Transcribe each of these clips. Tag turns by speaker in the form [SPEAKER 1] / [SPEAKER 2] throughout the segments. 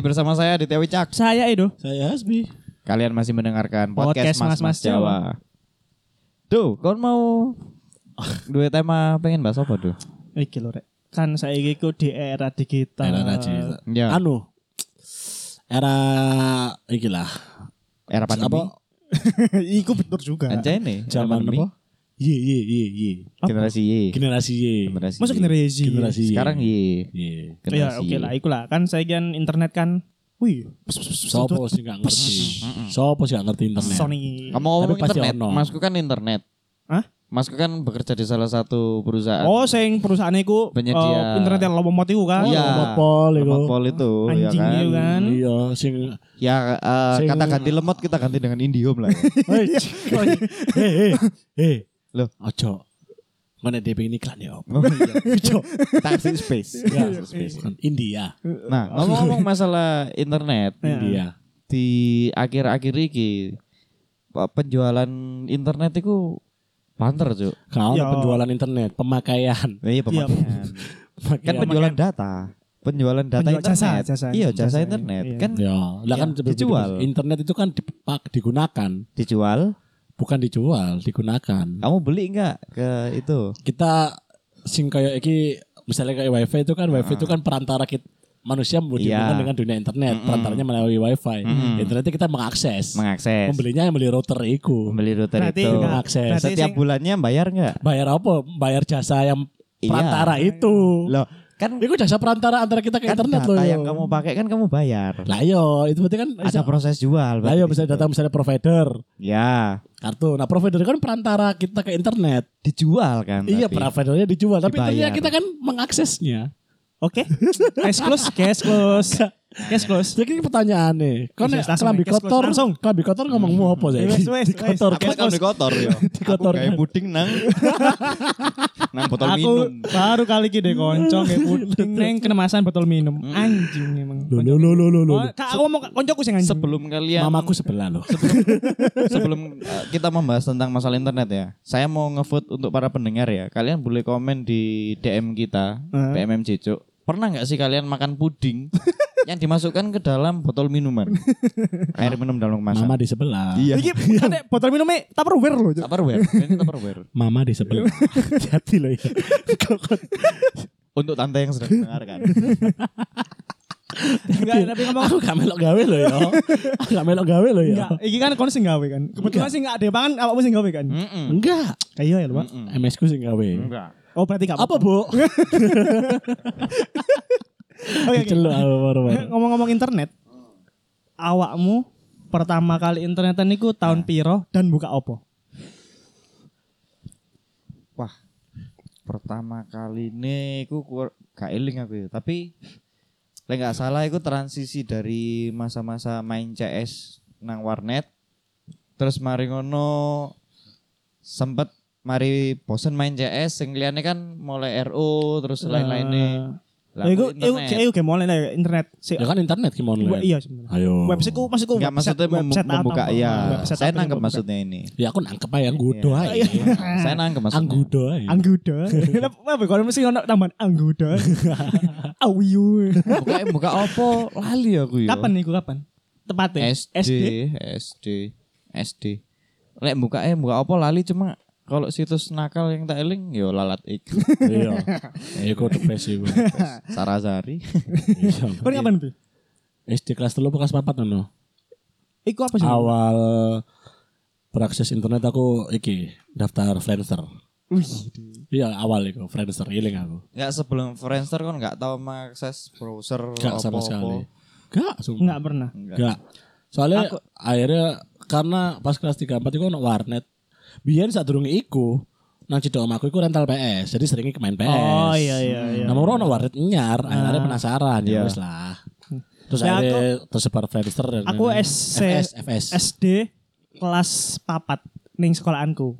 [SPEAKER 1] bersama saya di Tewi Cak.
[SPEAKER 2] Saya Edo.
[SPEAKER 3] Saya Hasbi.
[SPEAKER 1] Kalian masih mendengarkan podcast Mas
[SPEAKER 2] Podcast
[SPEAKER 1] Mas
[SPEAKER 2] Mas-Mas
[SPEAKER 1] Jawa. Duh, kau mau dua tema pengen bahas apa tuh?
[SPEAKER 2] Iki lho rek. Kan saiki ku di era digital.
[SPEAKER 3] Era Raji.
[SPEAKER 1] Ya.
[SPEAKER 3] Anu. Era iki lah.
[SPEAKER 1] Era pandemi.
[SPEAKER 3] Apa?
[SPEAKER 2] Iku bener juga.
[SPEAKER 1] Anjay nih. era
[SPEAKER 3] Zaman
[SPEAKER 1] pandemi.
[SPEAKER 3] apa? Ye ye ye ye.
[SPEAKER 1] Generasi Y.
[SPEAKER 3] Generasi Y.
[SPEAKER 1] Generasi
[SPEAKER 2] Masuk
[SPEAKER 1] Y.
[SPEAKER 2] generasi.
[SPEAKER 3] Generasi Y.
[SPEAKER 1] Sekarang Y.
[SPEAKER 3] Ye.
[SPEAKER 2] Ya
[SPEAKER 1] Generasi
[SPEAKER 2] oke
[SPEAKER 1] Y.
[SPEAKER 2] lah, iku lah. Kan saya kan internet kan. Wih,
[SPEAKER 3] Sopo sih gak ngerti? Sopo sih gak ngerti internet?
[SPEAKER 2] Sony.
[SPEAKER 1] Ngomong-ngomong
[SPEAKER 3] Tapi pasti
[SPEAKER 1] internet,
[SPEAKER 3] ono.
[SPEAKER 1] Masku kan internet.
[SPEAKER 2] Hah?
[SPEAKER 1] Masku kan bekerja di salah satu perusahaan.
[SPEAKER 2] Oh, sing perusahaan iku
[SPEAKER 1] Penyedia.
[SPEAKER 2] eh, internet yang lombok motif kan.
[SPEAKER 1] Iya.
[SPEAKER 3] Motpol iku.
[SPEAKER 1] Motpol itu, ya
[SPEAKER 2] Anjing
[SPEAKER 1] kan.
[SPEAKER 2] iya kan.
[SPEAKER 3] Iya, sing
[SPEAKER 1] Ya eh,
[SPEAKER 3] Sing-
[SPEAKER 1] kata ganti lemot kita ganti dengan indium lah. ya.
[SPEAKER 3] Hei,
[SPEAKER 1] Iya.
[SPEAKER 3] hei, hei.
[SPEAKER 1] Loh.
[SPEAKER 3] Eh, Ojo. Mana DP ini iklan ya, Om?
[SPEAKER 1] Oh, iya.
[SPEAKER 3] Ojo.
[SPEAKER 1] Taxi space.
[SPEAKER 3] Ya,
[SPEAKER 1] Taxi space.
[SPEAKER 3] bukan India.
[SPEAKER 1] Nah, ngomong-ngomong masalah internet
[SPEAKER 3] India.
[SPEAKER 1] di akhir-akhir iki pe- penjualan internet itu panter, Cuk.
[SPEAKER 3] Kau
[SPEAKER 2] Ya.
[SPEAKER 3] penjualan internet, pemakaian.
[SPEAKER 1] Iya, pemakaian. Kan
[SPEAKER 3] Pemakaian.
[SPEAKER 1] penjualan data. Penjualan data
[SPEAKER 2] Penjual
[SPEAKER 1] internet.
[SPEAKER 2] jasa, jasa,
[SPEAKER 1] iya, jasa,
[SPEAKER 2] jasa,
[SPEAKER 1] internet.
[SPEAKER 2] iya.
[SPEAKER 1] Kan
[SPEAKER 3] Ya, lah kan
[SPEAKER 1] Ya,
[SPEAKER 3] berbeda.
[SPEAKER 1] dijual.
[SPEAKER 3] Internet itu kan dipak, digunakan,
[SPEAKER 1] dijual.
[SPEAKER 3] bukan dijual, digunakan.
[SPEAKER 1] Kamu beli enggak ke itu?
[SPEAKER 3] Kita sing kayak iki misalnya kayak wifi itu kan wifi itu kan perantara kita
[SPEAKER 1] Ah. Iya.
[SPEAKER 3] manusia berhubungan dengan dunia internet, perantaranya melalui wifi. Internetnya kita mengakses.
[SPEAKER 1] Mengakses.
[SPEAKER 3] Membelinya yang beli router iku.
[SPEAKER 1] Membeli router
[SPEAKER 2] Berarti
[SPEAKER 1] itu.
[SPEAKER 2] enggak-
[SPEAKER 3] Akses.
[SPEAKER 2] berarti
[SPEAKER 1] Setiap
[SPEAKER 2] sing-
[SPEAKER 1] bulannya bayar enggak?
[SPEAKER 3] Bayar apa? Bayar jasa yang
[SPEAKER 1] Iya.
[SPEAKER 3] perantara itu.
[SPEAKER 1] Loh, kan
[SPEAKER 3] Iku jasa perantara antara kita ke
[SPEAKER 1] kan
[SPEAKER 3] Iya, internet
[SPEAKER 1] data
[SPEAKER 3] loh.
[SPEAKER 1] yang kamu pakai kan kamu bayar.
[SPEAKER 3] Lah yo, itu berarti kan
[SPEAKER 1] Ada proses jual.
[SPEAKER 3] Lah iya, yo
[SPEAKER 1] berarti.
[SPEAKER 3] misalnya datang misalnya provider.
[SPEAKER 1] Ya,
[SPEAKER 3] kartu. Nah, provider kan perantara kita ke internet.
[SPEAKER 1] dijual kan.
[SPEAKER 3] Iya,
[SPEAKER 1] berarti.
[SPEAKER 3] providernya dijual, tapi
[SPEAKER 1] Dibayar.
[SPEAKER 3] ternyata kita kan mengaksesnya.
[SPEAKER 2] Oke. Cash close, cash close. Cash close.
[SPEAKER 3] Jadi ini pertanyaannya, kan
[SPEAKER 2] Yes, yes, langsung,
[SPEAKER 3] kelambi
[SPEAKER 2] yes, yes,
[SPEAKER 3] kotor,
[SPEAKER 2] langsung.
[SPEAKER 3] kelambi kotor ngomong mau apa sih?
[SPEAKER 2] Wes, wes,
[SPEAKER 3] Di kotor,
[SPEAKER 1] Aku kan
[SPEAKER 3] kotor.
[SPEAKER 1] dikotor ya.
[SPEAKER 3] Dikotor.
[SPEAKER 1] Aku kayak puding nang. nang botol minum.
[SPEAKER 2] Aku baru kali ki deh konco kayak puding neng kenemasan botol minum.
[SPEAKER 1] Mm.
[SPEAKER 2] Anjing emang.
[SPEAKER 3] Loh, loh, loh, loh, loh, loh.
[SPEAKER 2] Oh, iya. Kak, aku ngomong koncoku sing anjing.
[SPEAKER 1] Sebelum kalian
[SPEAKER 3] Mamaku sebelah loh.
[SPEAKER 1] sebelum eh, kita membahas tentang masalah internet ya. Saya mau ngevote untuk para pendengar ya. Kalian boleh komen di DM kita PMM Cicuk. Pernah nggak sih kalian makan puding yang dimasukkan ke dalam botol minuman? Air minum dalam kemasan.
[SPEAKER 3] Mama di sebelah.
[SPEAKER 1] Iya.
[SPEAKER 2] Iki ada botol e, minumnya Tupperware loh. Cuk.
[SPEAKER 1] Tupperware, ini Tupperware.
[SPEAKER 3] Mama di sebelah.
[SPEAKER 2] Iya.
[SPEAKER 3] Hati-hati loh ya.
[SPEAKER 1] Untuk tante yang sedang mendengarkan.
[SPEAKER 2] Enggak, tapi ngomong
[SPEAKER 3] Aku gak melok gawe loh ya. Aku gak melok gawe loh ya.
[SPEAKER 2] enggak. Iki kan kon sing gawe kan. Kebetulan
[SPEAKER 1] Iya.
[SPEAKER 2] sing enggak ada pangan awakmu sing gawe kan.
[SPEAKER 1] Mm-mm.
[SPEAKER 3] Enggak.
[SPEAKER 2] Kayak ya, Pak.
[SPEAKER 3] MS ku sih gawe.
[SPEAKER 1] Enggak.
[SPEAKER 2] Oh, berarti enggak
[SPEAKER 3] Apa bu?
[SPEAKER 2] Oke, oke.
[SPEAKER 3] Celuk aku
[SPEAKER 2] Iya.
[SPEAKER 3] baru-baru.
[SPEAKER 2] Ngomong-ngomong internet. Awakmu pertama kali internetan niku
[SPEAKER 1] Nah.
[SPEAKER 2] tahun piro dan buka opo?
[SPEAKER 1] Wah, pertama kali ini aku kur- gak eling aku ya. Tapi lek nggak salah aku transisi dari masa-masa main CS nang warnet. Terus mari ngono sempet mari bosen main CS yang liane kan mulai RO terus lain-lainnya. Lah
[SPEAKER 2] Ya, iku
[SPEAKER 1] aku
[SPEAKER 2] iku
[SPEAKER 1] internet. Iya,
[SPEAKER 2] iku game online lah, internet. Si-
[SPEAKER 3] Ya kan internet gimana?
[SPEAKER 2] Wa- Iya sebenarnya.
[SPEAKER 3] Ayo.
[SPEAKER 2] Website ku maksudku
[SPEAKER 1] Enggak
[SPEAKER 2] website-
[SPEAKER 1] maksudnya mem-
[SPEAKER 2] website apa,
[SPEAKER 1] membuka
[SPEAKER 2] apa,
[SPEAKER 1] ya.
[SPEAKER 2] website
[SPEAKER 1] Saya
[SPEAKER 2] apa yang
[SPEAKER 1] nangkep
[SPEAKER 2] membuka.
[SPEAKER 1] maksudnya ini.
[SPEAKER 3] Ya aku nangkep aja anggudo
[SPEAKER 2] Iya.
[SPEAKER 3] aja.
[SPEAKER 1] Saya nangkep maksudnya.
[SPEAKER 3] Anggudo aja.
[SPEAKER 2] Angguda. Apa ya, kalau mesti ono tambahan angguda. Awiu.
[SPEAKER 1] Buka buka opo lali aku ya.
[SPEAKER 2] Kapan niku kapan? Tepatnya
[SPEAKER 1] SD, SD, SD. Lek buka eh buka apa lali cuma kalau situs nakal yang tak eling yo lalat ik.
[SPEAKER 3] Iya. Iku depes iku.
[SPEAKER 1] Sarasari.
[SPEAKER 3] Iya.
[SPEAKER 2] Kau kapan bi?
[SPEAKER 3] SD kelas 3 apa kelas 4 ngono.
[SPEAKER 2] Iku apa sih?
[SPEAKER 3] Awal berakses internet aku iki daftar Friendster.
[SPEAKER 2] Wih.
[SPEAKER 3] Iya awal iku Friendster iling aku.
[SPEAKER 1] Enggak sebelum Friendster kan enggak tahu mengakses browser
[SPEAKER 3] Gak
[SPEAKER 2] Oh,
[SPEAKER 3] sama
[SPEAKER 1] apa-apa.
[SPEAKER 3] sekali. Gak, sumpah.
[SPEAKER 2] Enggak pernah.
[SPEAKER 3] Gak. Soalnya akhirnya karena pas kelas 3 4 iku ono warnet. Biyen sadurunge iku nang cedok omahku iku rental PS. Jadi seringnya main PS.
[SPEAKER 2] Oh iya iya iya. Ah.
[SPEAKER 3] Nah, mau ono warnet nyar, akhirnya penasaran ya wis lah. Terus
[SPEAKER 2] Ya,
[SPEAKER 3] akhirnya tersebar Friendster dan
[SPEAKER 2] Aku
[SPEAKER 3] lain-lain.
[SPEAKER 2] SC
[SPEAKER 3] FS FS.
[SPEAKER 2] SD kelas papat ning sekolahanku.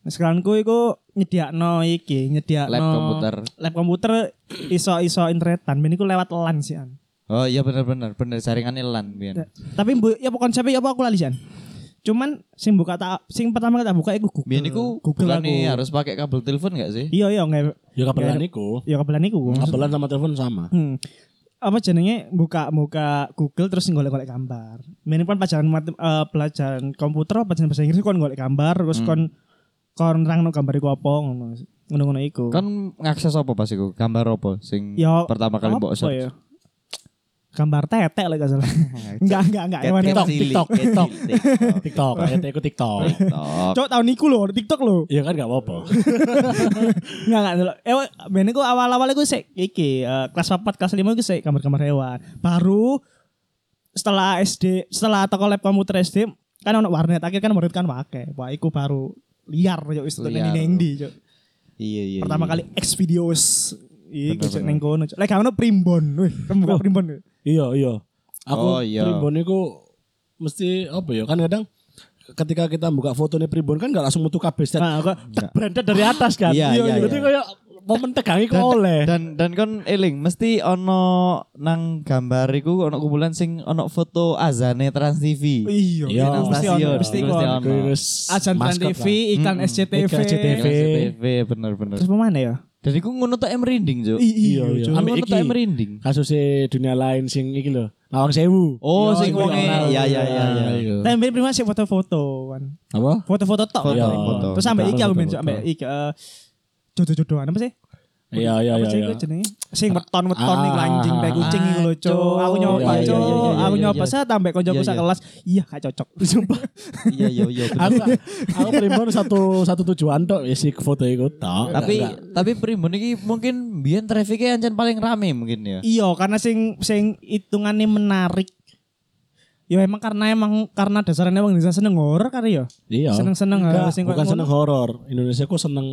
[SPEAKER 2] Ning sekolahanku iku nyediakno iki,
[SPEAKER 1] Hmm.
[SPEAKER 2] nyediakno
[SPEAKER 1] Lab komputer.
[SPEAKER 2] Lab komputer iso-iso internetan, ben iku lewat LAN sih an.
[SPEAKER 1] Oh iya benar-benar benar saringan lan biyen.
[SPEAKER 2] Tapi bu, ya pokoknya konsepnya ya apa aku lali Sian. Cuman sing buka tak sing pertama kali tak buka iku Google.
[SPEAKER 1] Biyen iku
[SPEAKER 2] Google
[SPEAKER 1] bukan
[SPEAKER 2] aku.
[SPEAKER 1] nih harus pakai kabel telepon enggak sih?
[SPEAKER 2] Iya iya nggak
[SPEAKER 3] Ya kabelan iku.
[SPEAKER 1] Hmm,
[SPEAKER 2] ya kebelan iku.
[SPEAKER 3] Kabelan sama telepon sama.
[SPEAKER 2] Hmm. Eh apa jenenge buka-buka Google terus golek-golek gambar. Mene kan pelajaran matem- eh, pelajaran komputer apa pelajaran bahasa Inggris kon golek gambar terus
[SPEAKER 1] Hmm.
[SPEAKER 2] kon kon nerangno gambar iku apa ngono. Ngono-ngono iku.
[SPEAKER 1] Kan ngakses apa pas iku? Gambar apa sing
[SPEAKER 2] Ya,
[SPEAKER 1] pertama kali mbok
[SPEAKER 2] apa
[SPEAKER 1] search?
[SPEAKER 2] ya? Gambar tetek lah gak salah. Enggak, enggak, enggak.
[SPEAKER 1] Cat-
[SPEAKER 2] hewan-
[SPEAKER 1] cat
[SPEAKER 3] Kan TikTok,
[SPEAKER 1] cilik.
[SPEAKER 3] TikTok,
[SPEAKER 1] Cat
[SPEAKER 3] TikTok.
[SPEAKER 1] cilik.
[SPEAKER 3] TikTok, ya ikut TikTok.
[SPEAKER 1] TikTok.
[SPEAKER 2] Cok tahun iku lho, TikTok lho.
[SPEAKER 3] Iya kan gak apa-apa.
[SPEAKER 2] Enggak enggak delok. Eh ben iku awal-awal iku sik iki eh, kelas 4 kelas 5 iku sik gambar-gambar hewan. Baru setelah SD, setelah toko lab komputer SD kan ono warnet akhir kan warnet kan wake. Wah, iku baru liar yo wis tenan
[SPEAKER 1] Liar.
[SPEAKER 2] ning ndi cuk.
[SPEAKER 1] Iya iya.
[SPEAKER 2] Pertama
[SPEAKER 1] iya.
[SPEAKER 2] kali X videos iku
[SPEAKER 1] Bener,
[SPEAKER 2] cuk
[SPEAKER 1] bener.
[SPEAKER 2] ning kono. cuk. Lek gak ono primbon. Wih, kan buka primbon. cuk.
[SPEAKER 3] Iya, iya.
[SPEAKER 1] Oh,
[SPEAKER 3] Aku
[SPEAKER 1] iya.
[SPEAKER 3] primbon iku mesti apa ya? Kan kadang ketika kita buka fotonya primbon kan gak langsung metu kabeh set.
[SPEAKER 2] Nah, aku
[SPEAKER 1] Enggak.
[SPEAKER 3] Brandet dari atas kan.
[SPEAKER 1] Iya, iya, iya.
[SPEAKER 3] Jadi kayak momen tegangi kok
[SPEAKER 1] Dan-
[SPEAKER 3] oleh.
[SPEAKER 1] Dan dan kon eling mesti ono nang gambar iku ono kumpulan sing ono foto azane Trans TV.
[SPEAKER 2] iya,
[SPEAKER 3] Iya.
[SPEAKER 2] iku mesti ono,
[SPEAKER 1] Stasiun,
[SPEAKER 2] mesti
[SPEAKER 1] iku
[SPEAKER 2] ono.
[SPEAKER 1] mesti ono.
[SPEAKER 3] Gue wis
[SPEAKER 2] Ajan Trans
[SPEAKER 3] maskot lah.
[SPEAKER 2] TV, iklan
[SPEAKER 1] Mm-mm.
[SPEAKER 2] SCTV.
[SPEAKER 3] Iklan SCTV.
[SPEAKER 1] Trans TV bener bener.
[SPEAKER 2] Terus pemana ya?
[SPEAKER 1] Dan iku ngono tok merinding, Cuk.
[SPEAKER 3] Iya, iya.
[SPEAKER 1] Ngono
[SPEAKER 3] Ambek
[SPEAKER 1] tok
[SPEAKER 3] iki. Iya,
[SPEAKER 1] merinding.
[SPEAKER 3] Kasus dunia lain sing iki lho. Lawang Sewu.
[SPEAKER 1] Oh, sing
[SPEAKER 3] iku
[SPEAKER 1] wonge.
[SPEAKER 3] kenal.
[SPEAKER 1] Iya, iya, iya, iya.
[SPEAKER 3] Iya.
[SPEAKER 2] Tapi ben prima sik foto-foto kan.
[SPEAKER 3] Apa?
[SPEAKER 2] foto-foto tok
[SPEAKER 1] Foto,
[SPEAKER 2] Iya.
[SPEAKER 1] foto.
[SPEAKER 2] terus sampai iki aku
[SPEAKER 3] Foto,
[SPEAKER 2] main
[SPEAKER 3] foto.
[SPEAKER 2] sampai iki eh, jodoh-jodohan apa sih
[SPEAKER 3] Iya, iya,
[SPEAKER 2] apa
[SPEAKER 3] iya.
[SPEAKER 2] sih
[SPEAKER 3] iya.
[SPEAKER 2] iku jenenge sing weton-weton
[SPEAKER 3] Ah,
[SPEAKER 2] ning anjing tai kucing
[SPEAKER 1] ah,
[SPEAKER 2] iku lho Cuk. aku
[SPEAKER 1] Cuk.
[SPEAKER 2] nyoba
[SPEAKER 3] Iya, iya,
[SPEAKER 2] Cuk.
[SPEAKER 3] iya, iya,
[SPEAKER 2] aku
[SPEAKER 1] iya,
[SPEAKER 2] nyoba
[SPEAKER 1] iya.
[SPEAKER 2] saya tambah konjoku
[SPEAKER 1] Iya,
[SPEAKER 2] sak
[SPEAKER 1] iya.
[SPEAKER 2] kelas iya gak cocok sumpah
[SPEAKER 1] Iya iya iya. bener.
[SPEAKER 3] Aku aku primbon satu satu tujuan tok isi foto iku tok.
[SPEAKER 1] tapi tapi Primbon iki mungkin biyen trafiknya ancen paling rame mungkin ya.
[SPEAKER 2] iya karena sing sing hitungannya menarik Ya emang karena emang karena dasarnya emang Indonesia seneng horor kan ya.
[SPEAKER 3] Iya.
[SPEAKER 2] Seneng-seneng
[SPEAKER 3] Enggak,
[SPEAKER 2] harus yang
[SPEAKER 3] bukan
[SPEAKER 2] kayak
[SPEAKER 3] seneng horor. Indonesia kok seneng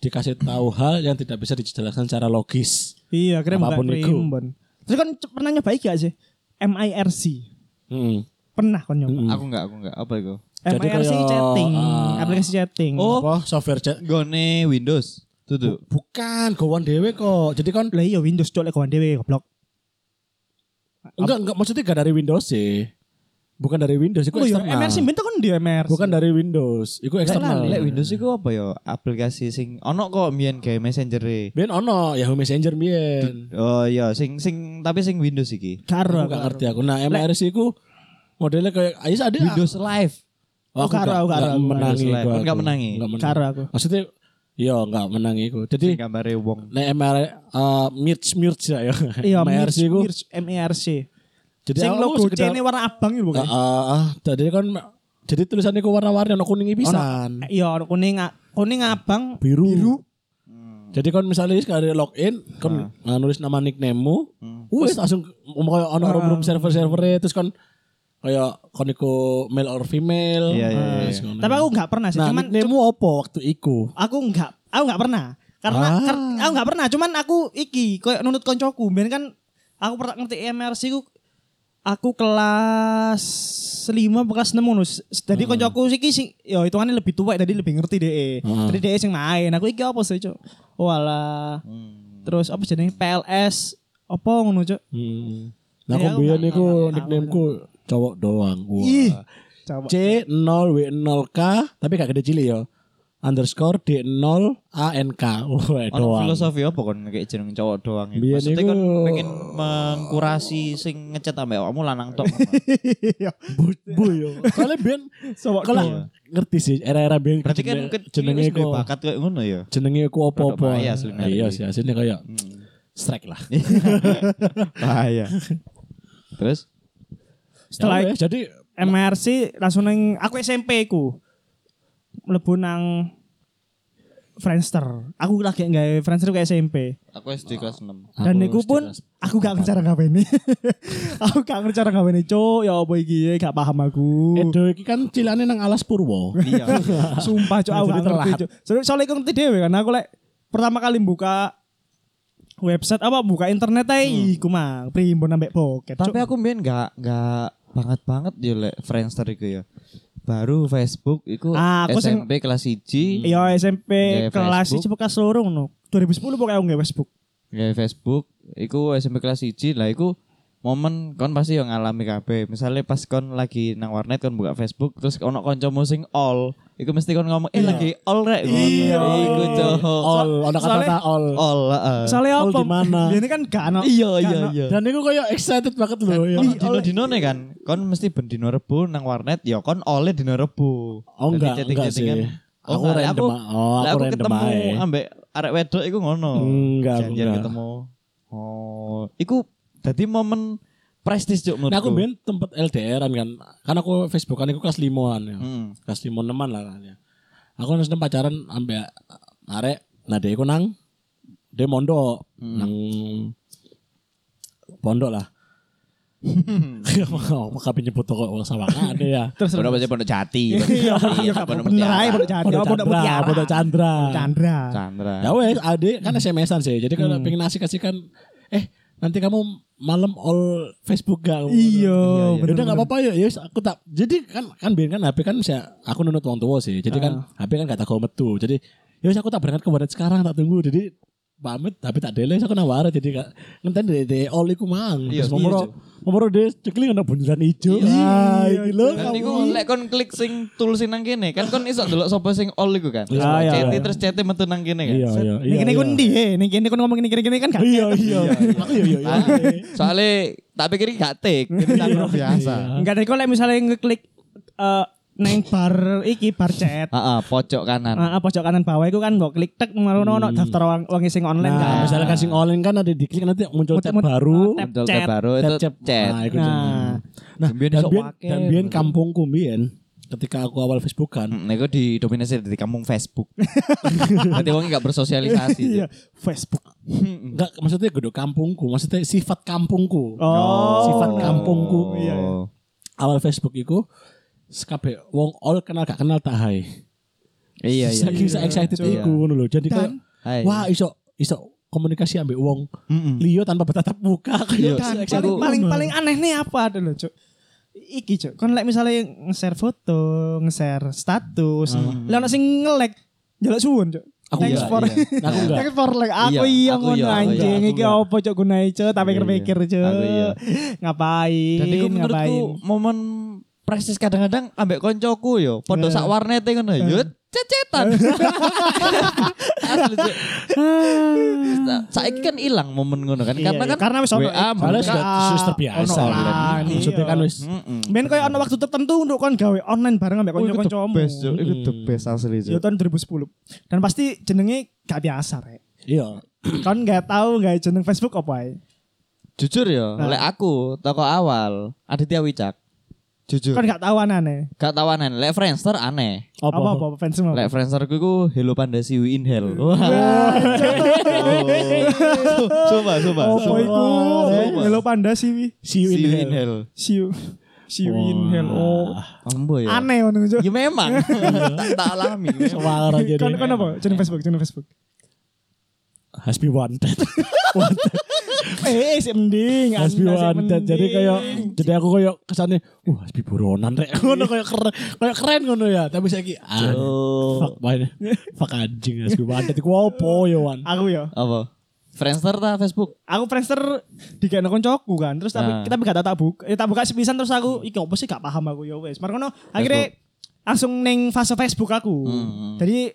[SPEAKER 3] dikasih tahu hal yang tidak bisa dijelaskan secara logis.
[SPEAKER 2] Iya, kira bukan
[SPEAKER 3] Apapun iku.
[SPEAKER 2] primbon. Terus kan c- pernah nyoba iki gak sih? MIRC.
[SPEAKER 3] Hmm.
[SPEAKER 2] Pernah kan nyoba?
[SPEAKER 3] Hmm.
[SPEAKER 1] Aku enggak, aku enggak. Apa iku?
[SPEAKER 3] Jadi
[SPEAKER 2] MIRC
[SPEAKER 3] kayak,
[SPEAKER 2] chatting,
[SPEAKER 3] ah.
[SPEAKER 2] aplikasi chatting.
[SPEAKER 1] Oh.
[SPEAKER 3] Apa software chat?
[SPEAKER 1] Gone Windows. Tutu.
[SPEAKER 3] Bukan, gowon dewe kok. Jadi kan
[SPEAKER 2] Lah iya Windows cok lek kawan dhewe goblok.
[SPEAKER 3] enggak enggak maksudnya enggak dari Windows sih. Bukan dari Windows, itu
[SPEAKER 2] Oh iya,
[SPEAKER 3] eksternal.
[SPEAKER 2] MRC bentuk kan di MRC.
[SPEAKER 3] Bukan dari Windows, itu eksternal.
[SPEAKER 1] Lek Windows iku apa ya? Aplikasi sing ono kok mbiyen gawe messenger
[SPEAKER 3] Biyen ono Yahoo Messenger biyen.
[SPEAKER 1] Oh iya, sing sing tapi sing Windows iki.
[SPEAKER 2] karo.
[SPEAKER 3] Aku gak ngerti aku. Nah, MRC ku modelnya kayak ah, iya, Ais ada
[SPEAKER 1] Windows Live.
[SPEAKER 3] Oh, aku
[SPEAKER 2] Aku karo,
[SPEAKER 3] gak-
[SPEAKER 2] aku karo,
[SPEAKER 3] gak
[SPEAKER 2] aku karo.
[SPEAKER 3] menangi.
[SPEAKER 1] Windows Live.
[SPEAKER 3] gua
[SPEAKER 1] Kan gak
[SPEAKER 3] aku.
[SPEAKER 1] menangi.
[SPEAKER 3] Gak menangi.
[SPEAKER 2] Karo aku.
[SPEAKER 3] Maksudnya Iya gak menangi ku. Jadi
[SPEAKER 1] Sing gambare wong.
[SPEAKER 3] Nek MR uh, Mirch Mirch ya yo.
[SPEAKER 2] Iya,
[SPEAKER 3] MRC
[SPEAKER 2] MRC
[SPEAKER 3] ku.
[SPEAKER 2] Mirch, MRC.
[SPEAKER 3] Jadi
[SPEAKER 2] E Sing
[SPEAKER 3] aku
[SPEAKER 2] logo
[SPEAKER 3] sekedar-
[SPEAKER 2] C-ne warna abang itu
[SPEAKER 3] Heeh,
[SPEAKER 2] bukan?
[SPEAKER 3] ah, jadi kan jadi tulisannya ku warna-warni ono kuning pisan.
[SPEAKER 2] Iya, warna kuning a- kuning abang.
[SPEAKER 3] Biru. Jadi kan misalnya sekali login kan
[SPEAKER 1] Nah.
[SPEAKER 3] uh, nulis nama nickname-mu,
[SPEAKER 1] Hmm.
[SPEAKER 3] wis langsung um, kayak ono room-room server-servernya terus kan kayak kon iku male or female.
[SPEAKER 1] Iya, iya,
[SPEAKER 3] Ah,
[SPEAKER 1] iya.
[SPEAKER 3] terus ngono.
[SPEAKER 2] Tapi aku gak pernah sih,
[SPEAKER 3] nah,
[SPEAKER 2] cuman
[SPEAKER 3] nickname-mu apa waktu iku?
[SPEAKER 2] aku nggak aku nggak pernah karena
[SPEAKER 3] Ah.
[SPEAKER 2] kar- aku nggak pernah cuman aku iki koyo nunut koncoku ben kan aku pernah ngerti MRC ku aku kelas 5 apa kelas 6 ngono S- jadi koncoku iki sing yo hitungannya lebih tua jadi lebih ngerti deh
[SPEAKER 3] Hmm.
[SPEAKER 2] jadi deh sing main aku iki apa sih cok walah terus apa jenenge PLS apa ngono cok
[SPEAKER 3] Hmm. Nah,
[SPEAKER 2] Iya,
[SPEAKER 3] aku biyen
[SPEAKER 2] aku-
[SPEAKER 3] iku
[SPEAKER 2] aku- aku-
[SPEAKER 3] nickname-ku cowok doang. Wah.
[SPEAKER 2] Ih. coba
[SPEAKER 3] C 0 W 0 K tapi gak gede cilik ya. Underscore D 0 A N K.
[SPEAKER 1] Ono
[SPEAKER 3] Wah, doang.
[SPEAKER 1] filosofi apa kon kayak jeneng cowok doang ya?
[SPEAKER 3] Biyen
[SPEAKER 1] Maksudnya kon
[SPEAKER 3] iku-
[SPEAKER 1] pengen mengkurasi sing ngechat ambek awakmu lanang tok.
[SPEAKER 3] iya. Bu yo. Soalnya ben
[SPEAKER 2] coba
[SPEAKER 3] kalau ngerti sih era-era ben
[SPEAKER 1] Berarti kan
[SPEAKER 3] jenenge- jenenge
[SPEAKER 1] jenenge
[SPEAKER 3] iku
[SPEAKER 1] bakat kayak ngono ya.
[SPEAKER 3] jenenge iku
[SPEAKER 1] Rodok
[SPEAKER 3] apa-apa.
[SPEAKER 1] bahaya aslinya.
[SPEAKER 3] Iya sih aslinya kayak strike lah. Ya
[SPEAKER 1] Bahaya. iya. Terus
[SPEAKER 2] setelah
[SPEAKER 3] Ya, jadi
[SPEAKER 2] MRC langsung neng aku SMP ku mlebu nang Friendster. Aku lagi nggak Friendster ku SMP.
[SPEAKER 1] aku SD kelas 6.
[SPEAKER 2] Dan aku
[SPEAKER 3] Aku
[SPEAKER 2] pun
[SPEAKER 3] setelah-
[SPEAKER 2] aku gak ngerti cara ngapain ini. aku gak ngerti cara ngapain ini, Cuk. Ya apa iki gak paham aku.
[SPEAKER 3] Edo iki kan cilane nang Alas Purwo.
[SPEAKER 1] Iya.
[SPEAKER 2] Sumpah, Cuk, aku gak
[SPEAKER 3] Jadi
[SPEAKER 2] ngerti,
[SPEAKER 3] telat.
[SPEAKER 2] Cuk. Soalnya, soalnya aku ngerti dhewe kan aku lek pertama kali buka website apa buka internet ae iku mang primbon ambek poket. Cuk.
[SPEAKER 1] Tapi aku mbien nggak nggak banget banget ya lek Friendster iku ya. Baru Facebook iku
[SPEAKER 2] Ah, aku sing-
[SPEAKER 1] SMP kelas 1
[SPEAKER 2] Iya SMP
[SPEAKER 1] Nggak
[SPEAKER 2] kelas
[SPEAKER 1] Facebook.
[SPEAKER 2] 1 kelas loro ngono. 2010 pokoknya aku nggak Facebook.
[SPEAKER 1] gawe Facebook iku SMP kelas 1 lah iku momen kon pasti yang ngalami kabeh. Misalnya pas kon lagi nang warnet kon buka Facebook terus ono kancamu sing all, iku mesti kon ngomong eh lagi all rek ngono.
[SPEAKER 2] Iya.
[SPEAKER 1] Iku cok.
[SPEAKER 3] all, ada kata-kata
[SPEAKER 2] soalnya-
[SPEAKER 3] all.
[SPEAKER 1] All. heeh.
[SPEAKER 2] Soalnya
[SPEAKER 3] All
[SPEAKER 2] apa?
[SPEAKER 3] di mana?
[SPEAKER 2] Ini kan gak ono.
[SPEAKER 1] Iya iya
[SPEAKER 2] Karena-
[SPEAKER 1] iya.
[SPEAKER 3] Dan itu kayak excited banget loh ya.
[SPEAKER 1] Dino dino nih kan, kon mesti ben dino rebu nang warnet, ya kon oleh dino rebu.
[SPEAKER 3] Oh
[SPEAKER 1] Jadi
[SPEAKER 3] enggak, enggak sih.
[SPEAKER 1] chatting-chattingan. Oh,
[SPEAKER 3] aku
[SPEAKER 1] enggak,
[SPEAKER 3] random.
[SPEAKER 1] aku-
[SPEAKER 3] oh,
[SPEAKER 1] Lah
[SPEAKER 3] aku,
[SPEAKER 1] aku,
[SPEAKER 3] random
[SPEAKER 1] ketemu
[SPEAKER 3] aja.
[SPEAKER 1] ambek arek wedok iku ngono.
[SPEAKER 3] Enggak, aku
[SPEAKER 1] Janjian
[SPEAKER 3] enggak.
[SPEAKER 1] ketemu. Oh, iku dadi momen prestis juk menurutku.
[SPEAKER 3] Nah, aku ben tempat LDRan kan. Kan aku Facebook kan aku kelas limoan ya.
[SPEAKER 1] Hmm.
[SPEAKER 3] Kelas limo teman lah kan ya. Aku harus pacaran ambek arek. Nah, dia aku nang dia mondok
[SPEAKER 1] Hmm.
[SPEAKER 3] nang pondok lah. Mau kabeh nyebut toko wong sawangane ya.
[SPEAKER 2] Terus
[SPEAKER 1] Pondok pasti pondok jati.
[SPEAKER 2] Iya, iya, bener aja pondok jati.
[SPEAKER 3] Pondok
[SPEAKER 2] Pondok
[SPEAKER 3] Chandra,
[SPEAKER 2] Mutiara.
[SPEAKER 3] pondok Chandra.
[SPEAKER 2] Chandra. Hmm.
[SPEAKER 1] Chandra.
[SPEAKER 3] Ya wes, ade kan SMS-an sih. Jadi kalau pengen asik kan eh nanti kamu malam all Facebook gak?
[SPEAKER 2] Iya,
[SPEAKER 3] Ya
[SPEAKER 2] bener.
[SPEAKER 3] udah nggak apa-apa ya, ya wis, aku tak. Jadi kan kan biar kan HP kan saya aku nunut wong tua sih. Jadi kan HP kan gak tak kau metu. Jadi ya wis, aku tak berangkat ke warnet sekarang tak tunggu. Jadi pamit tapi tak delay aku nang warnet jadi gak ngenten de de all iku mang.
[SPEAKER 1] Iya, iya,
[SPEAKER 3] Terus momoro momoro de cekli ono bundaran ijo. Ah, iki lho.
[SPEAKER 1] Kan
[SPEAKER 3] kamu.
[SPEAKER 1] iku lek kon klik sing tool sing nang kene, kan kon iso delok sapa sing all iku kan.
[SPEAKER 3] Ah, iya,
[SPEAKER 1] CT
[SPEAKER 3] iya.
[SPEAKER 1] terus CT metu nang kene kan.
[SPEAKER 3] Iya, iya.
[SPEAKER 2] Ini kene ku ndi? he? Ini kene ku ngomong ini kene kene kan gak.
[SPEAKER 3] Iya, iya. Iya, iya.
[SPEAKER 1] Ah,
[SPEAKER 3] iya.
[SPEAKER 1] Soalnya tak pikir ini gak take, ini kan biasa.
[SPEAKER 3] Iya.
[SPEAKER 2] Enggak tadi kok lek misalnya ngeklik eh, neng bar iki bar chat.
[SPEAKER 1] Heeh, pojok kanan.
[SPEAKER 2] Heeh, pojok kanan bawah itu kan mbok klik tek marono ono daftar wong wong sing online kan.
[SPEAKER 3] Nah, misalnya kasih online kan ada diklik nanti muncul tab
[SPEAKER 2] Muncul-
[SPEAKER 3] baru.
[SPEAKER 2] tab
[SPEAKER 1] Muncul
[SPEAKER 2] chat.
[SPEAKER 1] tab baru itu
[SPEAKER 3] Tab
[SPEAKER 1] chat.
[SPEAKER 3] Nah, Oh, itu
[SPEAKER 2] Nah.
[SPEAKER 3] Nah,
[SPEAKER 1] Biyen
[SPEAKER 3] dan
[SPEAKER 1] iso
[SPEAKER 3] biyen,
[SPEAKER 1] wake.
[SPEAKER 3] dan biyen kampungku biyen ketika aku awal Facebookan,
[SPEAKER 1] Hmm, Nego didominasi dari kampung Facebook. Nanti wongnya gak bersosialisasi.
[SPEAKER 2] Iya, Facebook.
[SPEAKER 3] enggak maksudnya gedung kampungku, maksudnya sifat kampungku.
[SPEAKER 2] Oh.
[SPEAKER 3] Sifat kampungku.
[SPEAKER 1] Oh,
[SPEAKER 2] Iya, iya.
[SPEAKER 3] Awal Facebook iku sekabe wong all kenal gak kenal tak hai.
[SPEAKER 1] Iya, iya.
[SPEAKER 3] Saking saya excited iku ngono lho. Jadi kayak
[SPEAKER 1] Hai.
[SPEAKER 3] wah iso iso komunikasi ambek wong
[SPEAKER 1] Mm-mm.
[SPEAKER 3] liyo tanpa bertatap muka
[SPEAKER 1] Iya.
[SPEAKER 3] kayak
[SPEAKER 2] Kan
[SPEAKER 3] saya excited
[SPEAKER 2] paling paling,
[SPEAKER 3] banget.
[SPEAKER 2] paling aneh nih apa dulu, Cuk? Iki, Cuk. Kon lek misalnya nge-share foto, nge-share status,
[SPEAKER 1] Hmm.
[SPEAKER 2] lah ono sing nge-like jalak suwun, Cuk.
[SPEAKER 3] Aku
[SPEAKER 2] Thanks
[SPEAKER 3] enggak,
[SPEAKER 2] for
[SPEAKER 3] iya. Aku enggak.
[SPEAKER 2] Thanks for like
[SPEAKER 1] Iya,
[SPEAKER 2] aku iya
[SPEAKER 1] aku
[SPEAKER 2] ngono
[SPEAKER 1] iya, aku iya,
[SPEAKER 2] anjing
[SPEAKER 1] aku
[SPEAKER 2] iki
[SPEAKER 1] iya.
[SPEAKER 2] opo Cuk gunae, Cuk? Tak pikir-pikir, Cuk.
[SPEAKER 1] Aku iya.
[SPEAKER 2] Ngapain?
[SPEAKER 1] Dan itu
[SPEAKER 2] Iya, ngapain?
[SPEAKER 1] menurutku momen prestis kadang-kadang ambek koncoku yo. Podo
[SPEAKER 2] Eh.
[SPEAKER 1] sak warnete ngono yo. Cecetan. Asli Cuk.
[SPEAKER 2] Ah.
[SPEAKER 1] Sa- Saiki kan hilang momen ngono kan.
[SPEAKER 2] Eh. Iya,
[SPEAKER 1] Karena
[SPEAKER 2] iya.
[SPEAKER 1] kan
[SPEAKER 2] Karena wis ono
[SPEAKER 1] WA
[SPEAKER 2] itu.
[SPEAKER 3] Padahal
[SPEAKER 1] buka.
[SPEAKER 3] sudah sudah terbiasa.
[SPEAKER 2] Online.
[SPEAKER 3] Online.
[SPEAKER 2] Iya.
[SPEAKER 3] Maksudnya kan wis
[SPEAKER 1] Mm-mm.
[SPEAKER 2] Ben koyo ono waktu tertentu untuk kon gawe online bareng ambek
[SPEAKER 1] Oh, iku the
[SPEAKER 2] kanca-kancamu.
[SPEAKER 1] best, Cuk. Iku the best asli,
[SPEAKER 2] Ya
[SPEAKER 1] Cuk.
[SPEAKER 2] tahun 2010. Dan pasti jenenge gak biasa, Rek.
[SPEAKER 3] Iya.
[SPEAKER 2] Kon gak tahu gak jeneng Facebook apa ae.
[SPEAKER 1] Jujur ya. yo,
[SPEAKER 2] Nah.
[SPEAKER 1] lek aku toko awal Aditya Wicak. Jujur.
[SPEAKER 2] Kon gak tahu anane.
[SPEAKER 1] Gak tawanan, lek Friendster aneh.
[SPEAKER 2] Apa apa fans semua.
[SPEAKER 1] Lek Friendster ku iku Hello Panda See You in Hell. Wah. Coba, coba.
[SPEAKER 2] Apa Oh, iku?
[SPEAKER 1] Sumpah.
[SPEAKER 2] Hello Panda sih wi.
[SPEAKER 3] See you in hell.
[SPEAKER 1] Hell.
[SPEAKER 2] See you. See you in hell. Oh.
[SPEAKER 1] Ambo ya.
[SPEAKER 2] Aneh ngono Cuk.
[SPEAKER 1] Ya memang. tak, tak alami.
[SPEAKER 3] Suara jadi.
[SPEAKER 2] Kon kon apa? Jeneng Facebook, jeneng Facebook.
[SPEAKER 3] Has been wanted.
[SPEAKER 2] Eh, sih mending.
[SPEAKER 3] Has been
[SPEAKER 2] Anda Kan sih
[SPEAKER 3] wanted. Jadi
[SPEAKER 2] mending.
[SPEAKER 3] kayak jadi aku kayak kesannya uh has been buronan rek. Ngono kayak keren, kayak keren ngono ya. Tapi saya ki ah,
[SPEAKER 1] Oh.
[SPEAKER 3] fuck man. Fuck anjing has been wanted. Iku opo ya
[SPEAKER 1] Nah,
[SPEAKER 3] wan?
[SPEAKER 2] aku ya.
[SPEAKER 1] Apa? Friendster ta Facebook?
[SPEAKER 2] Aku Friendster di kena koncoku kan. Terus tapi
[SPEAKER 1] Ah.
[SPEAKER 2] kita gak tak- tak buka, eh, tak buka sepisan terus aku iki opo sih gak paham aku ya wes. Markono akhirnya langsung neng fase Facebook aku.
[SPEAKER 1] Hmm,
[SPEAKER 2] Jadi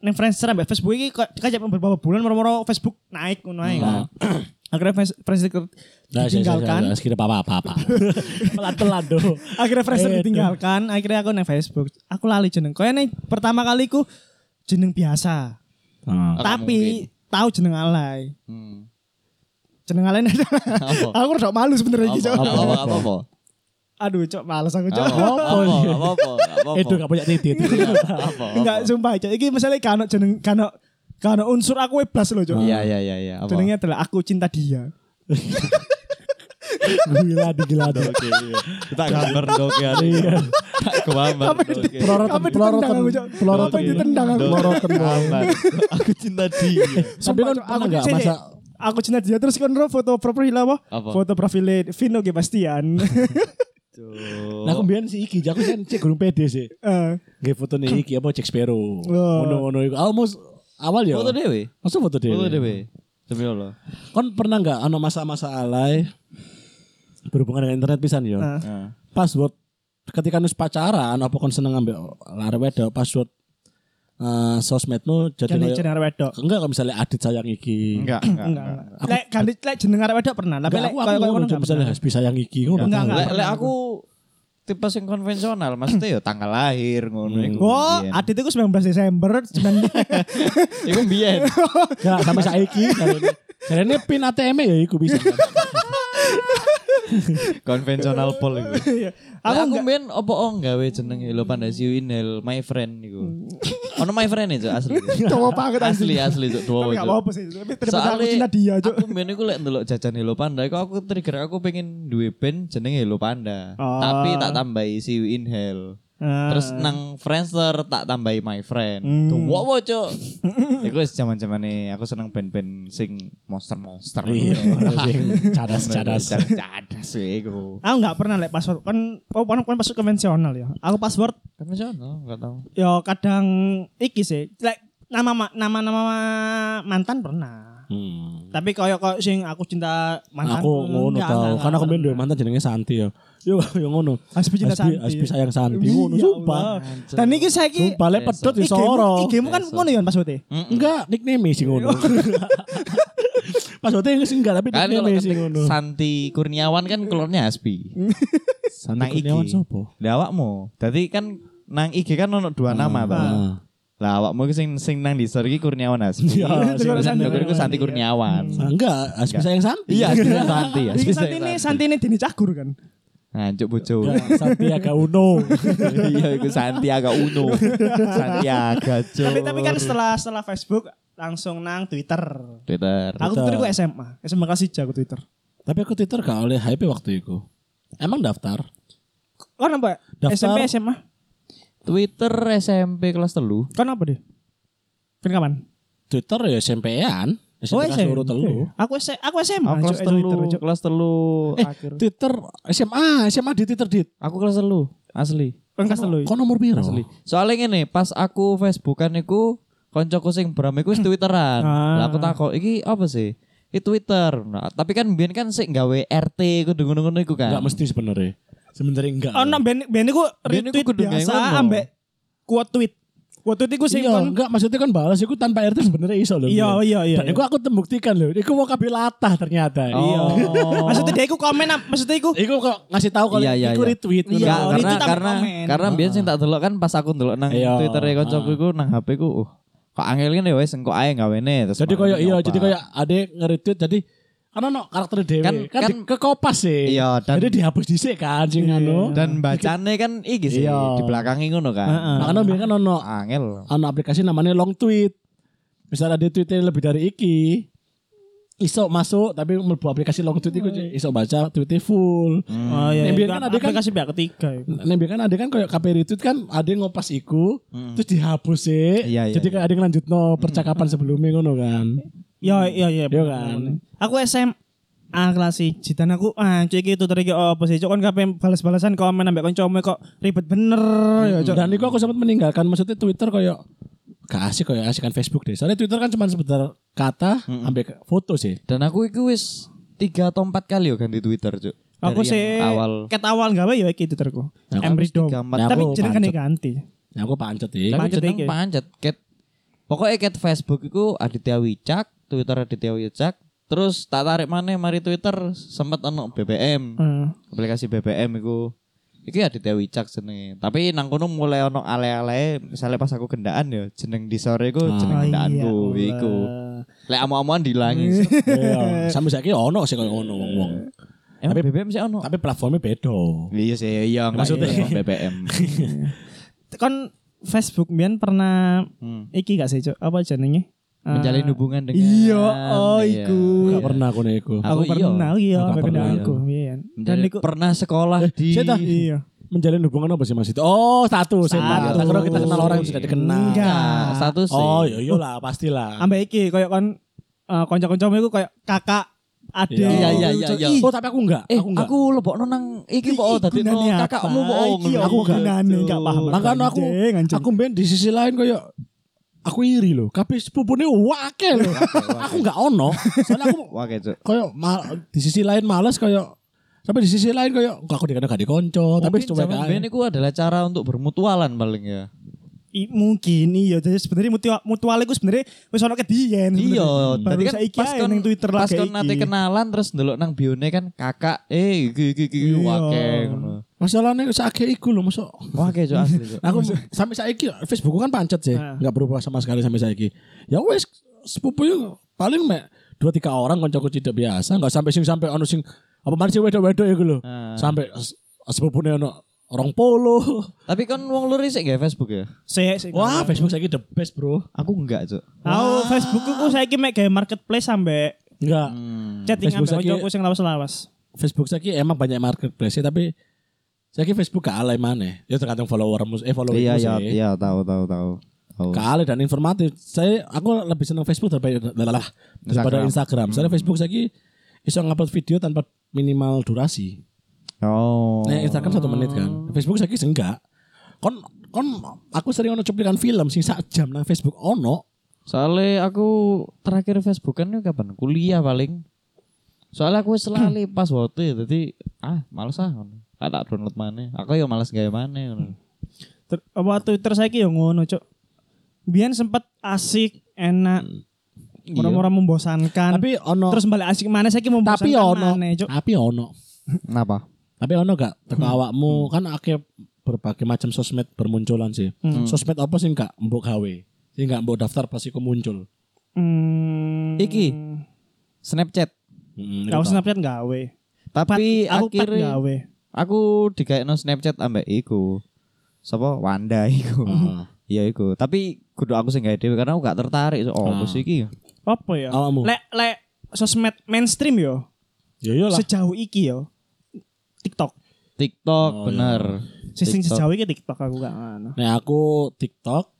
[SPEAKER 2] neng Friendster ambek Facebook iki kok kajak beberapa bulan moro-moro Facebook naik ngono ae kan.
[SPEAKER 1] Hmm.
[SPEAKER 2] Akhirnya Fes-
[SPEAKER 1] Nah,
[SPEAKER 2] Friendster ditinggalkan.
[SPEAKER 3] Sekira apa apa apa. Pelan-pelan do.
[SPEAKER 2] Akhirnya Friendster
[SPEAKER 3] Eh, duh.
[SPEAKER 2] ditinggalkan, akhirnya aku neng Facebook. Aku lali jeneng. Kaya neng pertama kali ku jeneng biasa.
[SPEAKER 3] Ah.
[SPEAKER 1] Aku
[SPEAKER 2] Tapi tahu jeneng alay.
[SPEAKER 1] Hmm.
[SPEAKER 2] Jeneng alay ada.
[SPEAKER 1] Apa?
[SPEAKER 2] aku udah malu sebenarnya
[SPEAKER 1] Apa
[SPEAKER 2] iki, Cok.
[SPEAKER 1] apa apa apa? apa?
[SPEAKER 2] Aduh, cok males aku
[SPEAKER 1] Ah, Apa
[SPEAKER 2] cok.
[SPEAKER 1] apa apa? Apa apa?
[SPEAKER 3] Edo gak punya titik.
[SPEAKER 1] Apa?
[SPEAKER 2] Enggak sumpah cok. Iki misalnya kano jeneng kano kano unsur aku blas loh cok.
[SPEAKER 1] Iya iya iya iya. Apa?
[SPEAKER 2] Jenengnya adalah aku cinta dia.
[SPEAKER 3] Gila digila do.
[SPEAKER 1] Kita gambar dong ya. Tak gambar. oke.
[SPEAKER 3] Pelorotan,
[SPEAKER 2] Sampai
[SPEAKER 3] pelorotan,
[SPEAKER 2] ditendang aku cok.
[SPEAKER 3] pelorotan.
[SPEAKER 2] Sampai ditendang aku.
[SPEAKER 1] Dok.
[SPEAKER 3] Pelorotan.
[SPEAKER 1] Gambar. Aku cinta dia.
[SPEAKER 3] Tapi
[SPEAKER 2] Sumpah,
[SPEAKER 3] kan
[SPEAKER 2] Cok. aku
[SPEAKER 3] pernah nggak
[SPEAKER 2] cek-
[SPEAKER 3] masa
[SPEAKER 2] aku cinta dia terus kan Ro, foto profil apa?
[SPEAKER 1] Apa?
[SPEAKER 2] Foto profil Vino G Bastian.
[SPEAKER 3] Nah, aku biyen si Iki, aku kan cek gurung PD sih.
[SPEAKER 2] Eh,
[SPEAKER 3] Nggih fotone iki apa Jack Sparrow.
[SPEAKER 2] Wah.
[SPEAKER 3] Ngono-ngono iku. Almost awal ya.
[SPEAKER 1] Foto dewe.
[SPEAKER 3] Masa foto dhewe.
[SPEAKER 1] Foto dewe. Demi Allah.
[SPEAKER 3] Kon pernah nggak ana masa-masa alay berhubungan dengan internet pisan ya.
[SPEAKER 2] Heeh.
[SPEAKER 1] Heeh.
[SPEAKER 3] Password ketika nus pacaran apa kon seneng ambek arek wedok password eh sosmedmu jadi
[SPEAKER 2] Jadi
[SPEAKER 3] kayak-
[SPEAKER 2] jeneng arek wedok.
[SPEAKER 3] enggak kalau misalnya adit sayang iki.
[SPEAKER 1] Enggak, enggak.
[SPEAKER 2] Enggak.
[SPEAKER 1] enggak.
[SPEAKER 2] enggak. Lek ganti lek jeneng arek wedok pernah. Tapi
[SPEAKER 3] Enggak,
[SPEAKER 2] lek
[SPEAKER 3] aku
[SPEAKER 2] koyo
[SPEAKER 3] aku
[SPEAKER 2] koyo
[SPEAKER 3] ngono
[SPEAKER 2] enggak
[SPEAKER 3] misalnya
[SPEAKER 2] pernah.
[SPEAKER 3] hasbi sayang iki ngono.
[SPEAKER 2] Enggak, enggak.
[SPEAKER 1] Lek lek aku tipe sing konvensional, maksudnya ya tanggal lahir ngono iku.
[SPEAKER 2] Oh,
[SPEAKER 1] Biyen.
[SPEAKER 2] Adit itu 19 Desember 9
[SPEAKER 1] iku mbiyen.
[SPEAKER 3] Ya sampai saiki jarene- jarene pin ATM ya iku bisa.
[SPEAKER 1] konvensional pol iku.
[SPEAKER 2] Iya.
[SPEAKER 1] Aku
[SPEAKER 2] Aku
[SPEAKER 1] aku
[SPEAKER 2] enggak
[SPEAKER 1] mbiyen opo oh gawe jeneng Hello Panda Siwinel, my friend iku. Ono my friend itu asli.
[SPEAKER 2] Tua banget
[SPEAKER 1] asli
[SPEAKER 2] anjing.
[SPEAKER 1] asli itu
[SPEAKER 2] Tapi
[SPEAKER 1] dua
[SPEAKER 2] enggak apa-apa sih. Tapi terima kasih aku cinta dia, Cuk.
[SPEAKER 1] Oh, aku mbiyen iku lek ndelok jajan Hello Panda iku aku trigger aku pengen duwe band jeneng Hello Panda.
[SPEAKER 2] Oh.
[SPEAKER 1] Tapi tak tambahi Siwi Inhale.
[SPEAKER 2] Eh,
[SPEAKER 1] Terus nang Friendster tak tambahi my friend.
[SPEAKER 2] Ah. Hmm.
[SPEAKER 1] Tuh wow cuk. Iku wis zaman-zamane aku seneng band-band sing monster-monster.
[SPEAKER 3] Iya, cadas-cadas.
[SPEAKER 1] Cadas sih iku.
[SPEAKER 2] Aku enggak pernah lek password kan oh kan kan password konvensional ya. Aku password
[SPEAKER 1] Konvensional enggak tahu.
[SPEAKER 2] ya kadang iki sih. Lek nama ma- nama nama mantan pernah.
[SPEAKER 3] Hmm.
[SPEAKER 2] Tapi koyo koyo sing aku cinta mantan.
[SPEAKER 3] aku ngono
[SPEAKER 2] enggak,
[SPEAKER 3] tau.
[SPEAKER 2] enggak,
[SPEAKER 3] Karena aku
[SPEAKER 2] enggak
[SPEAKER 3] main dua
[SPEAKER 2] pernah.
[SPEAKER 3] mantan jenenge Santi ya. Yo yo ngono.
[SPEAKER 2] Hasbi cinta
[SPEAKER 3] Hasbi-
[SPEAKER 2] Santi.
[SPEAKER 3] Hasbi sayang Santi
[SPEAKER 2] Iya,
[SPEAKER 3] ngono sumpah.
[SPEAKER 2] Allah. Dan iki saiki
[SPEAKER 3] Sumpah Iya, lek pedot
[SPEAKER 2] IG-mu-
[SPEAKER 3] disoro.
[SPEAKER 2] IG-mu kan ngono ya passwordnya.
[SPEAKER 3] Enggak, nickname e sih ngono. Pas waktu itu enggak, tapi
[SPEAKER 1] Kan kalau
[SPEAKER 3] nickname e sih
[SPEAKER 1] ketik
[SPEAKER 3] ngono.
[SPEAKER 1] Santi Kurniawan kan keluarnya Aspi.
[SPEAKER 3] Santi
[SPEAKER 1] nang IG.
[SPEAKER 3] Kurniawan sopo?
[SPEAKER 1] Lah awakmu. Dadi kan nang IG kan ono dua nama ta.
[SPEAKER 3] Ah.
[SPEAKER 1] Lah awakmu iku sing sing nang di iki Kurniawan Aspi.
[SPEAKER 3] Iya,
[SPEAKER 1] Sing nang
[SPEAKER 2] Kurniawan Iya. Santi.
[SPEAKER 1] Joker iku Santi Kurniawan.
[SPEAKER 3] Ah, Enggak, Hasbi
[SPEAKER 1] Enggak.
[SPEAKER 3] sayang Santi.
[SPEAKER 1] Iya, Aspi sayang Santi, Aspi
[SPEAKER 2] Iki
[SPEAKER 1] sayang
[SPEAKER 2] Santini
[SPEAKER 1] Santi.
[SPEAKER 2] Santini Dini Cagur kan.
[SPEAKER 1] Nganjuk Nah, bojo.
[SPEAKER 3] Enggak, Santiaga Uno.
[SPEAKER 1] Iya, iku Santiago Uno. Santiago Cuk.
[SPEAKER 2] Tapi tapi kan setelah setelah Facebook langsung nang Twitter.
[SPEAKER 1] Twitter.
[SPEAKER 2] Aku Twitter gue SMA, SMA kelas 3 aku Twitter.
[SPEAKER 3] Tapi aku Twitter gak oleh hype waktu itu. Emang daftar?
[SPEAKER 2] Kan apa?
[SPEAKER 3] Daftar.
[SPEAKER 2] SMP SMA.
[SPEAKER 1] Twitter SMP kelas telu.
[SPEAKER 2] Kan apa deh? Kan kapan?
[SPEAKER 3] Twitter ya SMP-an.
[SPEAKER 2] Oh,
[SPEAKER 3] SMP kelas loro telu.
[SPEAKER 2] Aku S aku SMA.
[SPEAKER 1] Aku kelas
[SPEAKER 2] Nah, Cuk, eh,
[SPEAKER 1] telu,
[SPEAKER 2] Twitter, Cuk.
[SPEAKER 1] kelas telu
[SPEAKER 3] Eh,
[SPEAKER 1] akhir.
[SPEAKER 3] Twitter SMA, SMA di Twitter dit.
[SPEAKER 1] Aku kelas telu, asli.
[SPEAKER 2] Kan kelas telu.
[SPEAKER 3] Kok nomor piro?
[SPEAKER 1] Asli. Soalnya ngene, pas aku Facebookan iku koncoku sing Bram iku wis Twitteran. Lah
[SPEAKER 2] Ah.
[SPEAKER 1] aku takok, iki apa sih? Iki Twitter. Nah, tapi kan biyen kan sik gawe RT kudu ngono-ngono iku
[SPEAKER 3] Enggak
[SPEAKER 1] kan. Oh,
[SPEAKER 3] mesti sebenarnya. Sebenarnya enggak.
[SPEAKER 2] Ono Oh, ben ben iku
[SPEAKER 1] Ben iku
[SPEAKER 2] retweet
[SPEAKER 1] kudu ngengono.
[SPEAKER 2] biasa ambek quote tweet. Quote tweet iku sing
[SPEAKER 3] Iya,
[SPEAKER 2] kon
[SPEAKER 3] enggak maksudnya kan balas iku tanpa RT sebenarnya iso loh.
[SPEAKER 2] Iya,
[SPEAKER 3] Bro.
[SPEAKER 2] iya, iya,
[SPEAKER 3] Dan iku aku tembuktikan loh. Iku mau kabeh latah ternyata. Iya.
[SPEAKER 1] Oh.
[SPEAKER 2] Maksudnya dia iku komen am- maksudnya iku
[SPEAKER 3] Iku kok ngasih tahu kalau
[SPEAKER 1] Iya, iya,
[SPEAKER 3] iku
[SPEAKER 1] iya.
[SPEAKER 3] retweet.
[SPEAKER 2] Iya,
[SPEAKER 1] Enggak,
[SPEAKER 2] oh,
[SPEAKER 1] karena
[SPEAKER 2] retweet tambah
[SPEAKER 1] karena
[SPEAKER 2] komen.
[SPEAKER 1] karena biyen sing tak delok kan pas aku delok nang
[SPEAKER 3] Iya. Ah.
[SPEAKER 1] Twitter e koncoku iku nang HP ku, uh, kok angel kan ya wis engko ae gawene terus.
[SPEAKER 3] Jadi
[SPEAKER 1] malah
[SPEAKER 3] koyo iya,
[SPEAKER 1] nyoba.
[SPEAKER 3] jadi koyo ade nge-retweet jadi karena no karakter dewe kan,
[SPEAKER 1] Kan-
[SPEAKER 3] kan,
[SPEAKER 1] kan-
[SPEAKER 3] di- kekopas sih.
[SPEAKER 1] Iya, dan- Iya.
[SPEAKER 3] jadi dihapus dhisik kan sing anu.
[SPEAKER 1] dan bacane kan iki sih
[SPEAKER 3] Iya.
[SPEAKER 1] di belakangnya ngono kan.
[SPEAKER 3] Makanya biar kan ono
[SPEAKER 1] Angel.
[SPEAKER 3] ana aplikasi namanya long tweet. Misalnya ada tweetnya lebih dari iki, iso masuk tapi mlebu aplikasi long tweet iku iso baca tweetnya
[SPEAKER 1] Hmm.
[SPEAKER 3] full.
[SPEAKER 2] Oh iya.
[SPEAKER 3] Nek biyen
[SPEAKER 2] iya.
[SPEAKER 3] kan ada kan-
[SPEAKER 2] aplikasi pihak ketiga. ya.
[SPEAKER 3] Nek biyen kan ada kan kayak KP retweet kan ada yang ngopas iku terus dihapus
[SPEAKER 1] Hmm.
[SPEAKER 3] sih.
[SPEAKER 1] Iya, iya,
[SPEAKER 3] Jadi kayak ada yang lanjut no percakapan sebelumnya ngono kan.
[SPEAKER 2] Iya iya iya.
[SPEAKER 3] Iya kan.
[SPEAKER 2] Aku SMA kelas 1 dan aku anjir iki Twitter iki apa sih? Cuk kon kabeh balas-balasan komen ambek kancamu kok ribet bener ya Cuk.
[SPEAKER 3] Oh, iya, Dan iku aku sempat meninggalkan maksudnya Twitter kayak gak asik kayak asikan Facebook deh. Soalnya Twitter kan cuma sebentar kata
[SPEAKER 1] Hmm.
[SPEAKER 3] ambil ke- foto sih.
[SPEAKER 1] Dan aku iku wis tiga atau empat kali yo ganti Twitter, Cuk.
[SPEAKER 2] Aku
[SPEAKER 1] Dari
[SPEAKER 2] sih
[SPEAKER 1] yang awal.
[SPEAKER 2] ket awal gawe ya iki Twitterku.
[SPEAKER 1] Nah,
[SPEAKER 2] Emri
[SPEAKER 1] aku
[SPEAKER 2] dong.
[SPEAKER 1] tiga, empat.
[SPEAKER 2] Tapi
[SPEAKER 3] Aku
[SPEAKER 2] jeneng kan
[SPEAKER 3] Oh, pancet.
[SPEAKER 2] ganti.
[SPEAKER 3] Ya aku pancet ya.
[SPEAKER 1] Tapi
[SPEAKER 2] Pancet
[SPEAKER 1] jeneng
[SPEAKER 2] iki.
[SPEAKER 1] pancet cat. Pokoknya cat Facebook iku Aditya Wicak, Twitter Aditya Wicak, terus tak tarik mana mari Twitter sempat ono BBM,
[SPEAKER 2] Heeh.
[SPEAKER 1] aplikasi BBM iku. Iki Aditya Wicak jenenge. Tapi nang kono mulai ono ale-ale, misalnya pas aku gendaan ya jeneng di sore iku
[SPEAKER 2] Ah,
[SPEAKER 1] jeneng gendaanku
[SPEAKER 2] iya,
[SPEAKER 1] iku.
[SPEAKER 2] Eh,
[SPEAKER 1] Lek amu-amuan dilangis.
[SPEAKER 3] Iya. Sampai saiki ono sih kayak ono wong-wong.
[SPEAKER 1] Emang BBM sih ono.
[SPEAKER 3] Tapi platformnya beda.
[SPEAKER 1] Iya sih, iya enggak
[SPEAKER 3] Maksudnya-
[SPEAKER 1] iya, emang BBM.
[SPEAKER 2] Kon Facebook mbiyen pernah
[SPEAKER 1] Hmm.
[SPEAKER 2] iki gak sih Cuk? Apa jenenge? Eh,
[SPEAKER 1] Menjalin hubungan dengan
[SPEAKER 2] Iya, oh iku.
[SPEAKER 1] Iya.
[SPEAKER 3] Gak pernah aku nih aku.
[SPEAKER 2] Aku
[SPEAKER 1] Aku iya.
[SPEAKER 2] pernah iya
[SPEAKER 3] Aku
[SPEAKER 2] ambek
[SPEAKER 3] pernah,
[SPEAKER 2] kancaku. Iya. Dan
[SPEAKER 1] Menjalin-
[SPEAKER 2] iku
[SPEAKER 1] pernah sekolah di Nah,
[SPEAKER 3] Saya tahu.
[SPEAKER 2] iya.
[SPEAKER 3] Menjalin hubungan apa sih Mas itu? Oh, status. Saya tahu.
[SPEAKER 2] Status.
[SPEAKER 3] Tak kira kita kenal orang yang sudah dikenal.
[SPEAKER 2] Enggak.
[SPEAKER 1] Nah, status sih.
[SPEAKER 3] Oh, iya iya lah, pastilah.
[SPEAKER 2] ambek iki koyo kon uh, kanca-kancamu iku koyo kakak adik
[SPEAKER 3] Iya,
[SPEAKER 1] iya, iya,
[SPEAKER 2] Cuk,
[SPEAKER 1] iya.
[SPEAKER 2] ih,
[SPEAKER 3] Oh, tapi aku enggak.
[SPEAKER 1] Eh,
[SPEAKER 3] aku enggak.
[SPEAKER 1] aku lebokno nang iki kok dadi no
[SPEAKER 2] gunane
[SPEAKER 1] kakakmu
[SPEAKER 2] apa?
[SPEAKER 1] kok
[SPEAKER 2] Iki
[SPEAKER 1] ngono.
[SPEAKER 2] aku
[SPEAKER 1] Iya,
[SPEAKER 2] gunane
[SPEAKER 1] gitu.
[SPEAKER 2] gak paham.
[SPEAKER 3] Makanya aku
[SPEAKER 2] Anjing, anjing.
[SPEAKER 3] aku ben di sisi lain kayak aku iri loh. Tapi sepupune wake loh. aku enggak ono. Soalnya aku
[SPEAKER 1] Wah, kayak, Cuk.
[SPEAKER 3] kayak mal- di sisi lain males kayak Tapi di sisi lain kayak enggak aku dikena
[SPEAKER 2] Oh,
[SPEAKER 3] gak dikonco, tapi
[SPEAKER 1] Tapi
[SPEAKER 3] cuma
[SPEAKER 1] zaman
[SPEAKER 3] kae.
[SPEAKER 1] biyen iku adalah cara untuk bermutualan paling ya.
[SPEAKER 2] I, mungkin iya jadi sebenarnya mutual mutual itu sebenarnya wis ono kediyen
[SPEAKER 1] Iya,
[SPEAKER 2] tadi kan pas
[SPEAKER 1] kon-
[SPEAKER 2] nang Twitter
[SPEAKER 1] pas
[SPEAKER 2] lagi
[SPEAKER 1] kon nate kenalan terus ndelok nang bione kan kakak eh iki iki iki
[SPEAKER 2] Iya.
[SPEAKER 1] akeh ngono.
[SPEAKER 3] Masalahnya sakit iku lho, masuk
[SPEAKER 1] Akeh cok asli cok.
[SPEAKER 3] Aku sampai saiki Facebookku kan pancet sih,
[SPEAKER 1] Nah.
[SPEAKER 2] Ah.
[SPEAKER 3] nggak berubah sama sekali sampai saiki. Ya wes sepupu yang paling mek dua tiga orang koncoku tidak biasa, nggak sampai sing sampai ono sing apa mana sih wedok wedok ya gitu loh.
[SPEAKER 1] Ah.
[SPEAKER 3] Sampai sepupu ono orang polo.
[SPEAKER 1] Tapi kan wong lur sik nggak Facebook ya?
[SPEAKER 2] Sik, sik.
[SPEAKER 3] Wah Facebook saiki the best bro.
[SPEAKER 1] Aku enggak cok.
[SPEAKER 2] Aku Facebook ku saiki mek gawe marketplace sampe
[SPEAKER 3] Enggak.
[SPEAKER 1] Hmm.
[SPEAKER 2] chatting
[SPEAKER 3] Facebook
[SPEAKER 2] sampe
[SPEAKER 3] saiki-
[SPEAKER 2] kancaku sing lawas-lawas.
[SPEAKER 3] Facebook saiki emang banyak marketplace tapi saiki Facebook gak alay mana? Ya tergantung followermu, eh followermu
[SPEAKER 1] Iya
[SPEAKER 3] sih.
[SPEAKER 1] iya iya tahu tahu tahu. Tahu.
[SPEAKER 3] Gak alay dan informatif. Saya aku lebih senang Facebook daripada lalah, daripada Instagram.
[SPEAKER 2] Hmm.
[SPEAKER 3] Soalnya Facebook saiki iso ngupload video tanpa minimal durasi.
[SPEAKER 1] Oh.
[SPEAKER 3] Nah, Instagram satu menit kan. Facebook saya kira enggak. Kon kon aku sering ono cuplikan film sing sak jam nang Facebook ono.
[SPEAKER 1] Soalnya aku terakhir Facebookan itu kapan? Kuliah paling. Soalnya aku selalu pas waktu ya, jadi ah males ah. ngono. Ah, tak download mana? Aku ya males gaya mana? ngono.
[SPEAKER 2] Ter- apa Twitter saiki yo ngono, Cuk. Biyen sempat asik, enak,
[SPEAKER 1] Hmm. Iya.
[SPEAKER 2] murah-murah membosankan.
[SPEAKER 3] Tapi ono
[SPEAKER 2] Kan. terus balik asik mana saiki membosankan
[SPEAKER 3] tapi ono
[SPEAKER 2] maneh, Cuk. Hmm.
[SPEAKER 3] tapi ono.
[SPEAKER 1] Kenapa?
[SPEAKER 3] Tapi ono gak teko awakmu kan akeh berbagai macam sosmed bermunculan sih.
[SPEAKER 2] Hmm.
[SPEAKER 3] Sosmed apa sih gak mbok gawe? Sing gak mbok daftar pasti ku muncul.
[SPEAKER 2] Hmm.
[SPEAKER 1] Iki. Snapchat.
[SPEAKER 3] Hmm,
[SPEAKER 2] Gak
[SPEAKER 3] itu
[SPEAKER 2] usah Snapchat gawe.
[SPEAKER 1] Tapi
[SPEAKER 2] aku pat
[SPEAKER 1] akhirnya
[SPEAKER 2] gawe.
[SPEAKER 1] aku dikaitno Snapchat ambek iku. Sapa Wanda iku.
[SPEAKER 3] Heeh.
[SPEAKER 1] Iya iku. Tapi kudu aku sing gawe dhewe karena aku gak tertarik so, oh, apa sih iki?
[SPEAKER 2] Apa ya?
[SPEAKER 1] Oh,
[SPEAKER 3] Awakmu.
[SPEAKER 2] Lek lek sosmed mainstream yo.
[SPEAKER 3] Ya iyalah.
[SPEAKER 2] Sejauh iki yo. TikTok.
[SPEAKER 1] TikTok
[SPEAKER 3] Oh,
[SPEAKER 1] bener.
[SPEAKER 2] iya. Sing
[SPEAKER 1] TikTok.
[SPEAKER 2] sejauh iki TikTok aku gak ngono.
[SPEAKER 3] Nah, aku TikTok,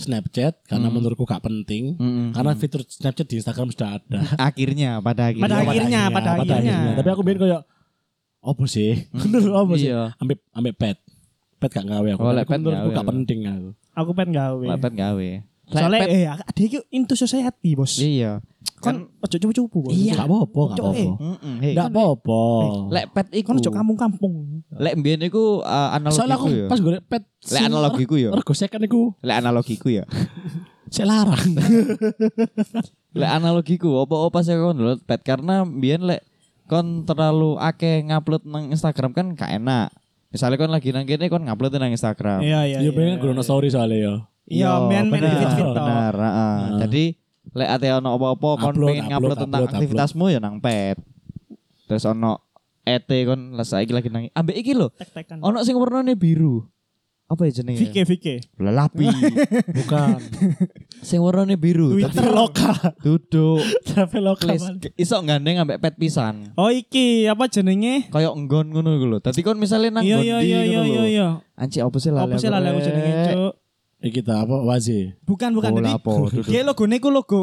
[SPEAKER 3] Snapchat karena
[SPEAKER 1] Hmm.
[SPEAKER 3] menurutku gak penting.
[SPEAKER 1] Mm-mm.
[SPEAKER 3] Karena fitur Snapchat di Instagram sudah ada.
[SPEAKER 1] Akhirnya pada akhirnya.
[SPEAKER 2] Pada
[SPEAKER 3] Iya,
[SPEAKER 2] akhirnya, pada akhirnya.
[SPEAKER 3] Tapi aku biar kayak opo sih? Bener opo sih?
[SPEAKER 1] Iya.
[SPEAKER 3] Ambek ambek pet. Pet gak ngawe aku.
[SPEAKER 1] Oh,
[SPEAKER 3] Tapi
[SPEAKER 1] lek pet
[SPEAKER 3] menurutku
[SPEAKER 1] gawe
[SPEAKER 3] gak
[SPEAKER 1] lho.
[SPEAKER 3] penting aku.
[SPEAKER 2] Aku pengen gawe.
[SPEAKER 1] Lepet gawe.
[SPEAKER 2] Soalnya
[SPEAKER 1] Lepet-
[SPEAKER 2] eh dia itu into society, Bos.
[SPEAKER 1] Iya.
[SPEAKER 2] Kon ojo cupu-cupu, Bos.
[SPEAKER 3] Gak apa-apa,
[SPEAKER 2] Iya.
[SPEAKER 3] gak
[SPEAKER 2] Cok,
[SPEAKER 3] apa-apa.
[SPEAKER 1] Heeh. Hey.
[SPEAKER 3] Gak apa-apa.
[SPEAKER 1] Eh, Lek pet iku.
[SPEAKER 2] Kon ojo kampung-kampung.
[SPEAKER 1] Lek mbiyen iku uh, analogiku
[SPEAKER 3] Soalnya aku
[SPEAKER 1] ya.
[SPEAKER 3] pas golek pet
[SPEAKER 1] Lek analogiku ya.
[SPEAKER 3] Rego second iku
[SPEAKER 1] Lek analogiku ya.
[SPEAKER 3] sik larang.
[SPEAKER 1] Lek analogiku opo-opo pas aku download pet karena mbiyen lek kon terlalu akeh ngupload nang Instagram kan gak enak. Misalnya kon lagi nang kene kon ngupload nang Instagram.
[SPEAKER 2] Iya, iya.
[SPEAKER 3] Iya pengen gue story soalnya ya.
[SPEAKER 2] Iya, men men
[SPEAKER 1] bener,
[SPEAKER 3] gitu,
[SPEAKER 2] fit fit
[SPEAKER 1] bener, heeh. Jadi lek ate ono apa-apa kon
[SPEAKER 3] Upload,
[SPEAKER 1] pengen ngupload
[SPEAKER 3] upload,
[SPEAKER 1] tentang
[SPEAKER 3] upload,
[SPEAKER 1] aktivitasmu ya nang pet. Terus ono ET kon lah saiki lagi nang ambek iki lho.
[SPEAKER 2] Tek-tekan.
[SPEAKER 1] Ono sing warnane biru. Apa ya jenenge?
[SPEAKER 2] Vike Vike.
[SPEAKER 1] Lah lapi.
[SPEAKER 3] Bukan.
[SPEAKER 1] sing warnane biru.
[SPEAKER 2] Twitter
[SPEAKER 1] Tapi-
[SPEAKER 2] lokal.
[SPEAKER 1] Duduk.
[SPEAKER 3] Travel lokal.
[SPEAKER 1] Please, iso gandeng ambek pet pisan.
[SPEAKER 2] Oh iki apa jenenge?
[SPEAKER 1] Kayak enggon ngono iku lho. Dadi kon misale nang
[SPEAKER 2] Iya
[SPEAKER 1] gondi
[SPEAKER 2] iya iya iya
[SPEAKER 1] ngono
[SPEAKER 2] iya
[SPEAKER 1] lho.
[SPEAKER 2] iya.
[SPEAKER 1] Anci apa sih lali
[SPEAKER 2] Apa sih lali aku jenenge, Cuk?
[SPEAKER 3] Iki kita apa wazi.
[SPEAKER 2] Bukan bukan
[SPEAKER 1] Oh,
[SPEAKER 2] jadi.
[SPEAKER 1] lapo, duduk.
[SPEAKER 2] Kayak logo niku logo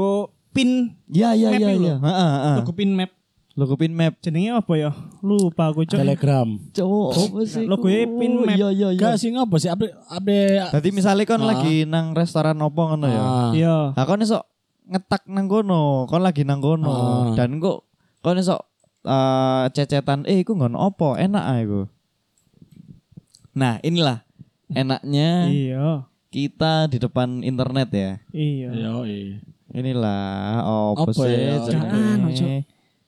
[SPEAKER 2] pin
[SPEAKER 1] Iya iya
[SPEAKER 2] Map
[SPEAKER 1] iya
[SPEAKER 2] iku
[SPEAKER 1] iya.
[SPEAKER 2] lho.
[SPEAKER 1] Heeh heeh.
[SPEAKER 2] logo pin map.
[SPEAKER 1] Logo pin map.
[SPEAKER 2] Jenenge apa ya? Lupa aku, Cuk.
[SPEAKER 3] Telegram.
[SPEAKER 1] Cowok apa sih?
[SPEAKER 2] Logo
[SPEAKER 1] iku?
[SPEAKER 2] e pin map.
[SPEAKER 1] Iya eh. iya iya.
[SPEAKER 3] Gak sih ngapa sih update update.
[SPEAKER 1] Tadi misalnya kon
[SPEAKER 3] Ah.
[SPEAKER 1] lagi nang restoran opo ngono ya.
[SPEAKER 3] Ah.
[SPEAKER 2] Iya.
[SPEAKER 1] Nah, kon iso ngetak nang kono, kon lagi nang kono
[SPEAKER 3] Ah.
[SPEAKER 1] dan kok kon iso eh, cecetan eh iku nggon opo, enak ah iku. Nah, inilah enaknya
[SPEAKER 2] Iya.
[SPEAKER 1] kita di depan internet ya.
[SPEAKER 2] Iya.
[SPEAKER 3] Yoi.
[SPEAKER 1] Inilah opo
[SPEAKER 3] Apa ya?
[SPEAKER 1] sih
[SPEAKER 2] Jangan, ojo.
[SPEAKER 1] jenenge.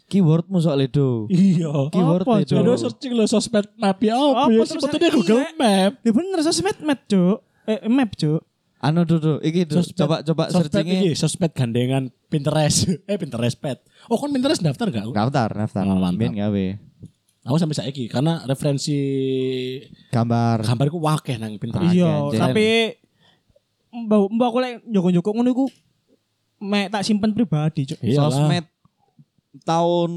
[SPEAKER 1] Keywordmu soal itu.
[SPEAKER 3] Iya.
[SPEAKER 1] Keyword
[SPEAKER 2] Apa,
[SPEAKER 1] itu.
[SPEAKER 2] Cuk?
[SPEAKER 3] Jadi searching lo sosmed map ya apa
[SPEAKER 2] Apa
[SPEAKER 3] ya?
[SPEAKER 2] terus
[SPEAKER 3] Sebetulnya
[SPEAKER 2] aku
[SPEAKER 3] Google
[SPEAKER 2] iya.
[SPEAKER 3] Map.
[SPEAKER 2] Ya bener sosmed map, Cuk. Eh map, Cuk.
[SPEAKER 1] Anu duduk, iki Duk.
[SPEAKER 3] Sosmed-
[SPEAKER 1] coba coba
[SPEAKER 3] Sosmed
[SPEAKER 1] searchingnya
[SPEAKER 3] ini, sosmed gandengan Pinterest. eh Pinterest pet. Oh kan Pinterest daftar gak?
[SPEAKER 1] daftar, daftar.
[SPEAKER 3] Oh, mantap.
[SPEAKER 1] Ben gawe.
[SPEAKER 3] Aku sampai saiki karena referensi
[SPEAKER 1] Gambar.
[SPEAKER 3] gambarku wakeh nang
[SPEAKER 1] Ah,
[SPEAKER 3] Pinterest.
[SPEAKER 2] Iya,
[SPEAKER 1] Jen.
[SPEAKER 2] tapi mbak mbak aku lek njoko-njoko ngono iku mek tak simpen pribadi, Cuk.
[SPEAKER 3] Iyalah.
[SPEAKER 1] iya. sosmed tahun